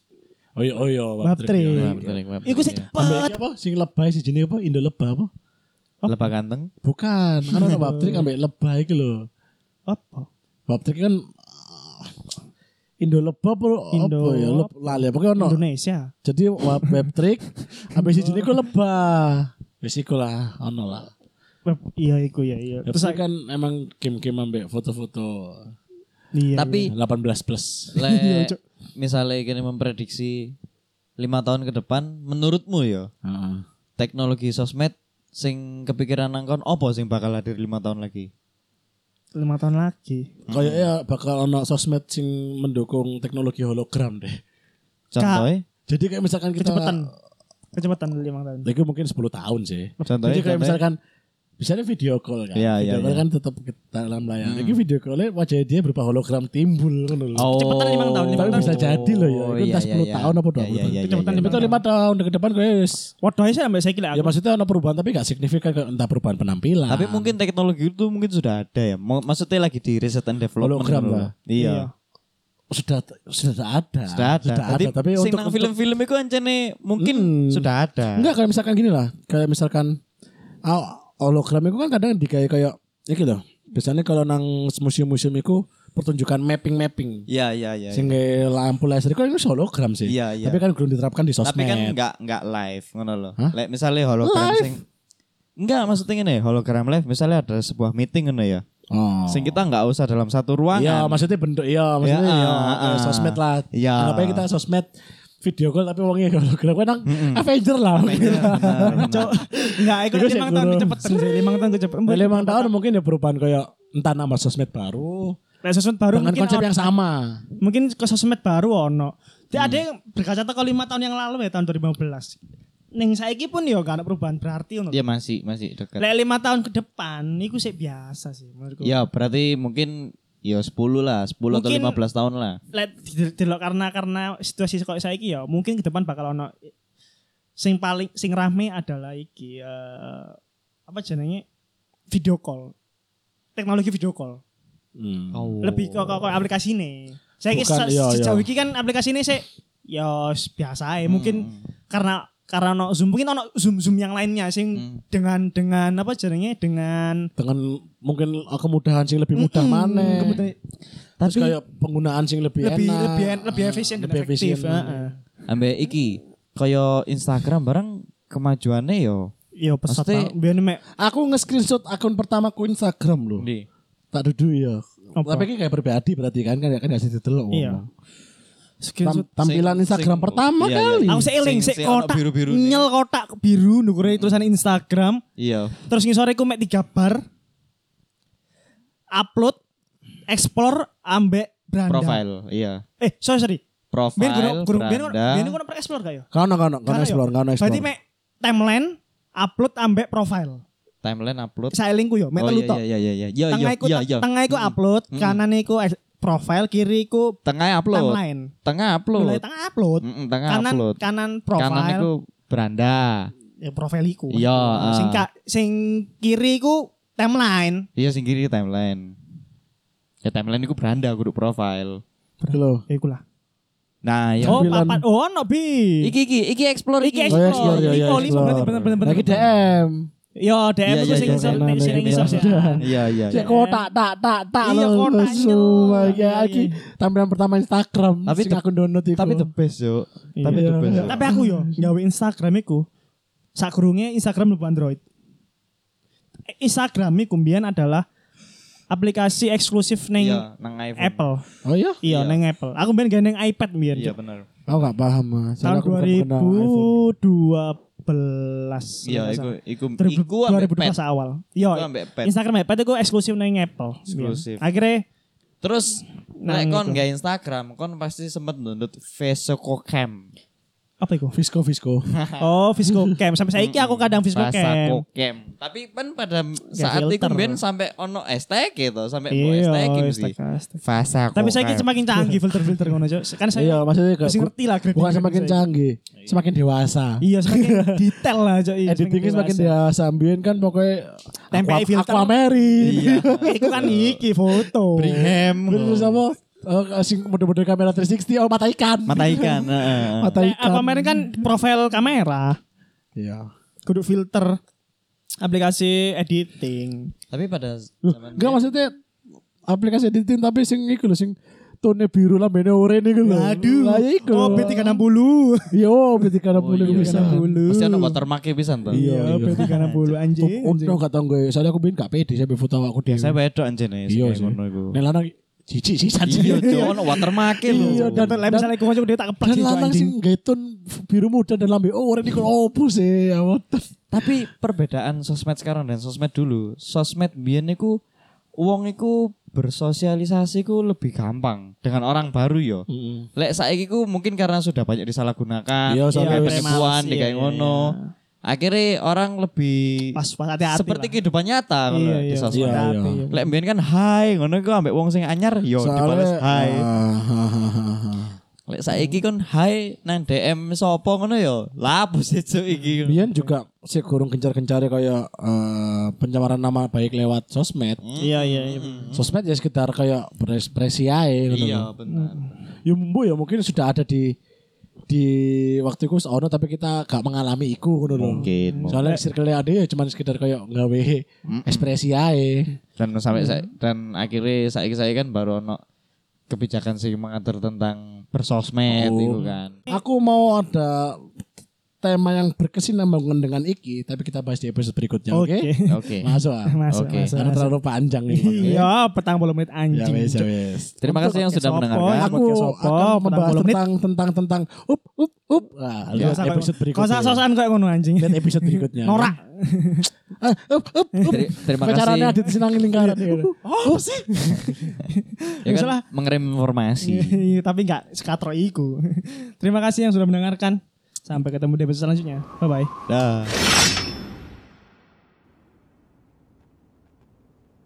[SPEAKER 3] Oh iya, oh iya.
[SPEAKER 2] Waptrik.
[SPEAKER 3] iya, iya.
[SPEAKER 2] iku sih
[SPEAKER 3] Ambek
[SPEAKER 2] cepet
[SPEAKER 3] iki apa? Sing lebay sih jenenge apa? Indo lebah apa? Oh.
[SPEAKER 1] Lebah ganteng.
[SPEAKER 3] Bukan, kan ono Waptrik ambek lebah iki lho.
[SPEAKER 2] apa
[SPEAKER 3] Waptrik kan ah, Indo lebah apa
[SPEAKER 2] Indo-
[SPEAKER 3] apa ya? Leb- Lali apa ki ono?
[SPEAKER 2] Indonesia
[SPEAKER 3] Jadi web, web trick habis siji niku lebah. Wis iku lah ono lah.
[SPEAKER 2] Web, iya iku ya iya.
[SPEAKER 3] Terus kan emang game-game ambek foto-foto
[SPEAKER 2] Iya.
[SPEAKER 1] Tapi
[SPEAKER 3] 18 plus.
[SPEAKER 1] Lek misalnya gini memprediksi lima tahun ke depan, menurutmu ya
[SPEAKER 3] Heeh.
[SPEAKER 1] teknologi sosmed sing kepikiran nang kon opo sing bakal hadir lima tahun lagi?
[SPEAKER 2] lima tahun lagi
[SPEAKER 3] Kayaknya ya, bakal ono sosmed sing mendukung teknologi hologram deh.
[SPEAKER 1] Contohnya,
[SPEAKER 3] Jadi kayak misalkan kita
[SPEAKER 2] kecepatan kecepatan Eh, lima tahun
[SPEAKER 3] Itu mungkin 10 tahun sih.
[SPEAKER 1] contohnya,
[SPEAKER 3] Jadi kayak
[SPEAKER 1] contohnya.
[SPEAKER 3] misalkan misalnya video call kan.
[SPEAKER 1] Iya, iya,
[SPEAKER 3] video call
[SPEAKER 1] iya. Hmm.
[SPEAKER 3] kan tetap ke- dalam layar. Jadi video callnya wajah dia berupa hologram timbul kan loh.
[SPEAKER 1] Oh.
[SPEAKER 2] Cepetan lima tahun, lima
[SPEAKER 3] Tapi
[SPEAKER 2] tahun.
[SPEAKER 3] bisa jadi loh ya. Itu entah 10 tahun apa
[SPEAKER 1] Iya,
[SPEAKER 3] 20 tahun.
[SPEAKER 1] iya, iya, iya,
[SPEAKER 2] Kecepatan
[SPEAKER 3] Tapi itu
[SPEAKER 1] iya.
[SPEAKER 3] Kan lima tahun ke depan gue wis.
[SPEAKER 2] waduh saya sampai saya kira
[SPEAKER 3] Ya maksudnya ada perubahan tapi gak signifikan kayak entah perubahan penampilan.
[SPEAKER 1] Tapi mungkin teknologi itu mungkin sudah ada ya. Mau- Maksudnya lagi di research and development.
[SPEAKER 3] Hologram
[SPEAKER 1] dulu.
[SPEAKER 3] lah.
[SPEAKER 1] Iya.
[SPEAKER 3] sudah Nah, sudah ada.
[SPEAKER 1] Sudah ada. Tadi
[SPEAKER 3] Tapi
[SPEAKER 1] sing
[SPEAKER 3] untuk
[SPEAKER 1] nang film-film itu ancene mungkin
[SPEAKER 3] Hmm.
[SPEAKER 1] sudah ada.
[SPEAKER 3] Enggak kayak misalkan gini lah, kayak misalkan ah, hologram itu kan kadang di kayak kayak iki loh. Biasanya kalau nang museum-museum itu pertunjukan mapping-mapping.
[SPEAKER 1] Iya, iya, iya.
[SPEAKER 3] Sing kayak lampu laser itu kan itu hologram sih.
[SPEAKER 1] Iya, iya.
[SPEAKER 3] Tapi kan belum diterapkan di sosmed.
[SPEAKER 1] Tapi kan enggak enggak live ngono loh.
[SPEAKER 3] Hah?
[SPEAKER 1] Lek misale hologram
[SPEAKER 3] Live?
[SPEAKER 1] sing Enggak, maksudnya gini, hologram live misalnya ada sebuah meeting ngono ya.
[SPEAKER 3] Oh.
[SPEAKER 1] Sing kita enggak usah dalam satu
[SPEAKER 3] Iya,
[SPEAKER 1] ruangan.
[SPEAKER 3] maksudnya bentuk iya, maksudnya
[SPEAKER 1] Ya,
[SPEAKER 3] ya,
[SPEAKER 1] ah,
[SPEAKER 3] kayak
[SPEAKER 1] ah.
[SPEAKER 3] sosmed lah.
[SPEAKER 1] Iya.
[SPEAKER 3] Anggapnya kita sosmed video call tapi wongnya hologram kan nang Avenger lah.
[SPEAKER 1] Benar, benar.
[SPEAKER 2] Cok, enggak, itu
[SPEAKER 3] Iku sih
[SPEAKER 2] lima tahun
[SPEAKER 3] guru.
[SPEAKER 2] kecepatan sih, lima tahun kecepatan.
[SPEAKER 3] Nah, Lima tahun mungkin ya perubahan kayak entah nama sosmed baru
[SPEAKER 2] Nah, sosmed baru
[SPEAKER 3] dengan
[SPEAKER 2] mungkin
[SPEAKER 3] konsep
[SPEAKER 2] on-
[SPEAKER 3] yang sama.
[SPEAKER 2] mungkin ke sosmed baru ono. Tapi
[SPEAKER 3] Hmm.
[SPEAKER 2] ada yang berkaca ke lima tahun yang lalu ya tahun 2015. Ning saiki pun ya gak ada perubahan berarti ono.
[SPEAKER 1] Iya masih masih dekat.
[SPEAKER 2] Lek lima tahun ke depan iku sih biasa sih menurutku.
[SPEAKER 1] Ya, berarti mungkin ya 10 lah, 10 atau
[SPEAKER 2] Mungkin-
[SPEAKER 1] 15 tahun lah.
[SPEAKER 2] Lek di- delok karena karena situasi kok saiki ya mungkin ke depan bakal ono sing paling sing rame adalah iki eh, apa jenenge video call. Teknologi video call.
[SPEAKER 3] Hmm.
[SPEAKER 1] Oh.
[SPEAKER 2] lebih ke, ke, ke aplikasi ini. Saya kira
[SPEAKER 3] Bukan,
[SPEAKER 2] se-
[SPEAKER 3] iya,
[SPEAKER 2] sejauh
[SPEAKER 3] iya.
[SPEAKER 2] ini kan aplikasi ini saya ya s- biasa ya mungkin
[SPEAKER 3] Hmm.
[SPEAKER 2] karena karena ono zoom mungkin ono zoom zoom yang lainnya sing
[SPEAKER 1] Hmm.
[SPEAKER 2] dengan dengan apa jadinya dengan
[SPEAKER 3] dengan mungkin kemudahan sing lebih mudah
[SPEAKER 2] Mm-mm,
[SPEAKER 3] mana
[SPEAKER 2] kemudahan-
[SPEAKER 3] terus kayak penggunaan sing lebih,
[SPEAKER 2] lebih
[SPEAKER 3] enak Hmm.
[SPEAKER 2] lebih en- lebih efisien dan
[SPEAKER 3] lebih
[SPEAKER 2] efektif.
[SPEAKER 3] efisien. iya.
[SPEAKER 2] heeh.
[SPEAKER 1] Ambek iki kaya Instagram barang kemajuannya yo.
[SPEAKER 2] Iya pesat
[SPEAKER 1] Maksudnya-
[SPEAKER 2] banget. Biar mek
[SPEAKER 3] aku nge-screenshot akun pertamaku Instagram loh tak dudu ya
[SPEAKER 2] Apa?
[SPEAKER 3] tapi ini kayak berbeda berarti kan kan kan hasil ditelok
[SPEAKER 2] Iya.
[SPEAKER 3] ngomong. Tam-
[SPEAKER 2] screenshot.
[SPEAKER 3] tampilan
[SPEAKER 1] Sing-
[SPEAKER 3] Instagram
[SPEAKER 1] sing-
[SPEAKER 3] pertama
[SPEAKER 1] iya, iya.
[SPEAKER 3] kali
[SPEAKER 2] Aku saya eling
[SPEAKER 1] Sing-
[SPEAKER 2] sik
[SPEAKER 1] sing ono
[SPEAKER 2] kotak
[SPEAKER 1] biru-biru nih.
[SPEAKER 2] nyel kotak biru nukure tulisan Instagram
[SPEAKER 1] Iya.
[SPEAKER 2] terus ngisore ku mek tiga bar upload explore ambek beranda
[SPEAKER 1] Profile, iya.
[SPEAKER 2] eh sorry sorry
[SPEAKER 1] Profile,
[SPEAKER 2] Biar gue guru biar gue
[SPEAKER 1] beranda.
[SPEAKER 2] biar gue pernah explore gak ya?
[SPEAKER 3] Kau no, kau no, kau no
[SPEAKER 2] Karena
[SPEAKER 3] explore,
[SPEAKER 2] yo.
[SPEAKER 3] kau no explore.
[SPEAKER 2] Berarti mek timeline upload ambek profile.
[SPEAKER 1] timeline upload.
[SPEAKER 2] Saya linku yo, mek
[SPEAKER 1] Oh
[SPEAKER 2] telu
[SPEAKER 1] iya
[SPEAKER 2] tok.
[SPEAKER 1] iya iya iya. Iya iya
[SPEAKER 2] Tengah iku
[SPEAKER 1] iya iya.
[SPEAKER 2] tengah iku upload, kanan iku ex- profile, kiri iku
[SPEAKER 1] Tengah upload.
[SPEAKER 2] timeline.
[SPEAKER 1] Tengah
[SPEAKER 2] Mulai
[SPEAKER 1] upload.
[SPEAKER 2] ya. tengah upload,
[SPEAKER 1] Mm-mm, Tengah
[SPEAKER 2] kanan
[SPEAKER 1] upload.
[SPEAKER 2] kanan
[SPEAKER 1] Kanan
[SPEAKER 2] profile,
[SPEAKER 1] itu beranda.
[SPEAKER 2] ya profile iku.
[SPEAKER 1] Iya, ah.
[SPEAKER 2] Sing ka- sing kiri iku timeline.
[SPEAKER 1] Iya sing kiri timeline. Ya timeline itu beranda kudu profile.
[SPEAKER 3] Gitu loh.
[SPEAKER 2] Ya iku lah.
[SPEAKER 1] Nah, ya.
[SPEAKER 2] Oh,
[SPEAKER 3] Tampilan.
[SPEAKER 2] papat. Oh, no bi.
[SPEAKER 1] Iki iki iki explore
[SPEAKER 2] Iki
[SPEAKER 1] iki.
[SPEAKER 3] Oh, ya, explore, ya,
[SPEAKER 2] Iki
[SPEAKER 3] ya,
[SPEAKER 2] oh, lima
[SPEAKER 3] explore.
[SPEAKER 2] berarti bener bener bener.
[SPEAKER 3] Lagi DM.
[SPEAKER 2] Yo,
[SPEAKER 1] Iya,
[SPEAKER 2] DM iku
[SPEAKER 1] iya,
[SPEAKER 2] sing
[SPEAKER 1] iya,
[SPEAKER 2] sing
[SPEAKER 3] iya,
[SPEAKER 2] sing
[SPEAKER 3] iya,
[SPEAKER 2] ngisor
[SPEAKER 3] iya.
[SPEAKER 2] sih.
[SPEAKER 1] Iya iya.
[SPEAKER 3] Cek
[SPEAKER 1] iya.
[SPEAKER 3] kotak, tak, tak, tak.
[SPEAKER 2] Iya,
[SPEAKER 3] loh.
[SPEAKER 2] kotak,
[SPEAKER 3] Sumpah,
[SPEAKER 2] iya,
[SPEAKER 3] ya, iki Tampilan pertama Instagram.
[SPEAKER 1] Tapi
[SPEAKER 3] sing
[SPEAKER 1] tep-
[SPEAKER 3] akun download itu.
[SPEAKER 1] Tapi the best yo. Tapi
[SPEAKER 3] Iya.
[SPEAKER 1] the best. yo.
[SPEAKER 2] gitu. Tapi aku yo gawe Instagram iku. Sakurunge Instagram mlebu Android. Instagram iku mbiyen adalah aplikasi eksklusif ning
[SPEAKER 1] Iya, nang iPhone.
[SPEAKER 2] Apple.
[SPEAKER 3] Oh iya?
[SPEAKER 1] Iya.
[SPEAKER 2] Iya, neng Apple. Aku mbiyen gawe ning iPad mbiyen.
[SPEAKER 1] Iya benar.
[SPEAKER 3] Aku gak paham. Mas.
[SPEAKER 2] Tahun
[SPEAKER 3] Soalnya aku bukan pengguna iPhone.
[SPEAKER 2] 2012.
[SPEAKER 1] Iya,
[SPEAKER 2] kalau
[SPEAKER 1] iku
[SPEAKER 2] nggak salah.
[SPEAKER 1] iku iku ambek
[SPEAKER 2] 2012
[SPEAKER 1] pet.
[SPEAKER 2] awal. Yo,
[SPEAKER 1] Iku ambek pet.
[SPEAKER 2] Instagram iPad iku eksklusif ning Apple. mbiyen.
[SPEAKER 1] Eksklusif.
[SPEAKER 2] Akhirnya
[SPEAKER 1] Terus
[SPEAKER 2] Nah,
[SPEAKER 1] nek kon
[SPEAKER 2] gitu.
[SPEAKER 1] gak Instagram, kon pasti sempet download Vesco Cam.
[SPEAKER 2] apa iku?
[SPEAKER 3] Visco, Visco.
[SPEAKER 2] Oh, Visco Cam. Sampai saiki aku kadang Visco
[SPEAKER 1] Rasa
[SPEAKER 2] Cam.
[SPEAKER 1] kokem. Tapi kan pada saat itu
[SPEAKER 2] filter.
[SPEAKER 1] ben sampai ono hashtag gitu, sampai mbok
[SPEAKER 2] Iya,
[SPEAKER 1] hashtag gitu sih.
[SPEAKER 2] hashtag- hashtag.
[SPEAKER 1] Fasa
[SPEAKER 2] Tapi saya semakin canggih filter-filter ngono, Cok. Kan saya
[SPEAKER 3] Iya, maksudnya kayak
[SPEAKER 2] Masih ngerti lah grading-
[SPEAKER 3] Bukan semakin
[SPEAKER 2] grading saya.
[SPEAKER 3] canggih, semakin dewasa.
[SPEAKER 2] Iya semakin detail lah Cok. Iya,
[SPEAKER 3] Editingnya semakin
[SPEAKER 2] dewasa.
[SPEAKER 3] dewasa. Ambien kan pokoknya
[SPEAKER 2] Tempe
[SPEAKER 3] Aqua-
[SPEAKER 2] filter.
[SPEAKER 3] Aquamarine.
[SPEAKER 1] Iya.
[SPEAKER 2] Iku kan iki foto.
[SPEAKER 1] Brigham.
[SPEAKER 3] Terus apa? Eh, sing mode-mode kamera 360 oh mata ikan.
[SPEAKER 1] Mata ikan. heeh.
[SPEAKER 3] Mata
[SPEAKER 2] Nek
[SPEAKER 3] ikan.
[SPEAKER 2] Aquamarine kan profil kamera,
[SPEAKER 3] Iya.
[SPEAKER 2] kudu filter aplikasi editing.
[SPEAKER 1] Tapi pada
[SPEAKER 3] Loh,
[SPEAKER 1] zaman
[SPEAKER 3] Enggak maksudnya aplikasi editing tapi sing iku lho sing tone biru lah bene oranye iku lho. Lah ya iku.
[SPEAKER 2] Oh, B360.
[SPEAKER 3] Iya, B360
[SPEAKER 1] Oh, iya,
[SPEAKER 3] bisa.
[SPEAKER 1] iya.
[SPEAKER 2] Dulu.
[SPEAKER 1] Mesti ono watermark pisan to.
[SPEAKER 3] Iya,
[SPEAKER 2] Iya,
[SPEAKER 3] iya.
[SPEAKER 2] B360 anjing.
[SPEAKER 3] ya. Untung gak tau gue, soalnya aku bin gak pede sampe foto aku dia.
[SPEAKER 1] Saya wedok anjene
[SPEAKER 3] Iya
[SPEAKER 1] sing
[SPEAKER 3] sih.
[SPEAKER 1] ngono iku.
[SPEAKER 3] Nek lanang Cici sih
[SPEAKER 1] Iya, Cuk, ono watermark lho.
[SPEAKER 3] Iya, dan-
[SPEAKER 2] Dan misalnya gue ngajak dia tak keplak
[SPEAKER 3] Dan
[SPEAKER 2] sih Cuk,
[SPEAKER 3] lanang
[SPEAKER 2] anjing.
[SPEAKER 3] sing gaitun biru muda dan lambe oh orang ini kalau opo sih ya wonten.
[SPEAKER 1] Tapi perbedaan sosmed sekarang dan sosmed dulu. Sosmed biyen iku wong iku bersosialisasi ku lebih gampang dengan orang baru yo. Lek saiki ku mungkin karena sudah banyak disalahgunakan.
[SPEAKER 3] Iya,
[SPEAKER 1] sampai
[SPEAKER 3] sampai
[SPEAKER 1] penipuan
[SPEAKER 2] premasi,
[SPEAKER 1] kayak
[SPEAKER 2] iya,
[SPEAKER 1] ngono. Akhirnya orang lebih
[SPEAKER 2] Pas pas hati-hati.
[SPEAKER 1] seperti
[SPEAKER 2] lah.
[SPEAKER 1] kehidupan nyata kalau
[SPEAKER 2] Iya,
[SPEAKER 1] di
[SPEAKER 2] iya.
[SPEAKER 1] sosmed.
[SPEAKER 3] Iya,
[SPEAKER 2] Hati-hati,
[SPEAKER 3] iya.
[SPEAKER 1] Lek mbiyen kan hai ngono iku ambek wong sing anyar yo dibales hai.
[SPEAKER 2] ah.
[SPEAKER 3] Ah,
[SPEAKER 1] Lek saiki kon hai nang DM sapa ngono yo. Lapus itu
[SPEAKER 2] Iya,
[SPEAKER 1] iki.
[SPEAKER 3] Bian juga sih kurung kencar-kencarnya kayak eh, pencemaran nama baik lewat sosmed.
[SPEAKER 1] Hmm.
[SPEAKER 2] Iya, iya, iya.
[SPEAKER 3] Sosmed ya sekitar kayak berekspresi aja gitu.
[SPEAKER 1] Iya, benar.
[SPEAKER 3] Ya mbo ya mungkin sudah ada di di waktu itu ono tapi kita gak mengalami iku ngono lho.
[SPEAKER 1] Mungkin. mungkin.
[SPEAKER 3] Soalnya circle ade ya cuman sekedar kayak gawe
[SPEAKER 1] Hmm.
[SPEAKER 3] ekspresi ae.
[SPEAKER 1] Dan sampai sa- dan akhirnya saiki saya kan baru ono kebijakan sing mengatur tentang bersosmed itu kan.
[SPEAKER 2] Eh.
[SPEAKER 3] Aku mau ada tema yang berkesinambungan dengan iki tapi kita bahas di episode berikutnya, oke?
[SPEAKER 2] Oke.
[SPEAKER 1] Oke.
[SPEAKER 3] Masuk ah.
[SPEAKER 2] Masuk,
[SPEAKER 1] Oke.
[SPEAKER 2] masuk.
[SPEAKER 3] Karena
[SPEAKER 2] masuk.
[SPEAKER 3] terlalu panjang ini.
[SPEAKER 2] Iya, petang puluh menit
[SPEAKER 3] Ya
[SPEAKER 2] anjing.
[SPEAKER 3] wes, ya
[SPEAKER 2] Cuk.
[SPEAKER 3] wes.
[SPEAKER 1] Terima kasih yang sudah
[SPEAKER 2] Sopo,
[SPEAKER 1] mendengarkan.
[SPEAKER 2] aku
[SPEAKER 3] Podcast
[SPEAKER 2] apa,
[SPEAKER 3] akan membahas
[SPEAKER 2] menang 10 menit.
[SPEAKER 3] tentang tentang tentang up up up. Nah,
[SPEAKER 2] Gak
[SPEAKER 3] lihat
[SPEAKER 2] usah kayak-
[SPEAKER 3] episode
[SPEAKER 2] Kau
[SPEAKER 3] berikutnya. Iya, kan?
[SPEAKER 2] sosokan kayak ngono anjing.
[SPEAKER 3] Lihat episode berikutnya.
[SPEAKER 2] Norak.
[SPEAKER 3] Ah, up up up.
[SPEAKER 1] Teri- Terima
[SPEAKER 3] Pacarannya
[SPEAKER 1] kasih.
[SPEAKER 3] ada senangin lingkaran.
[SPEAKER 2] Oh sih.
[SPEAKER 1] Ya kan,
[SPEAKER 2] Salah.
[SPEAKER 1] mengirim informasi.
[SPEAKER 2] Iya, Tapi nggak sekatro iku. Terima kasih yang sudah mendengarkan. Sampai ketemu di episode selanjutnya. Bye bye.
[SPEAKER 1] Dah.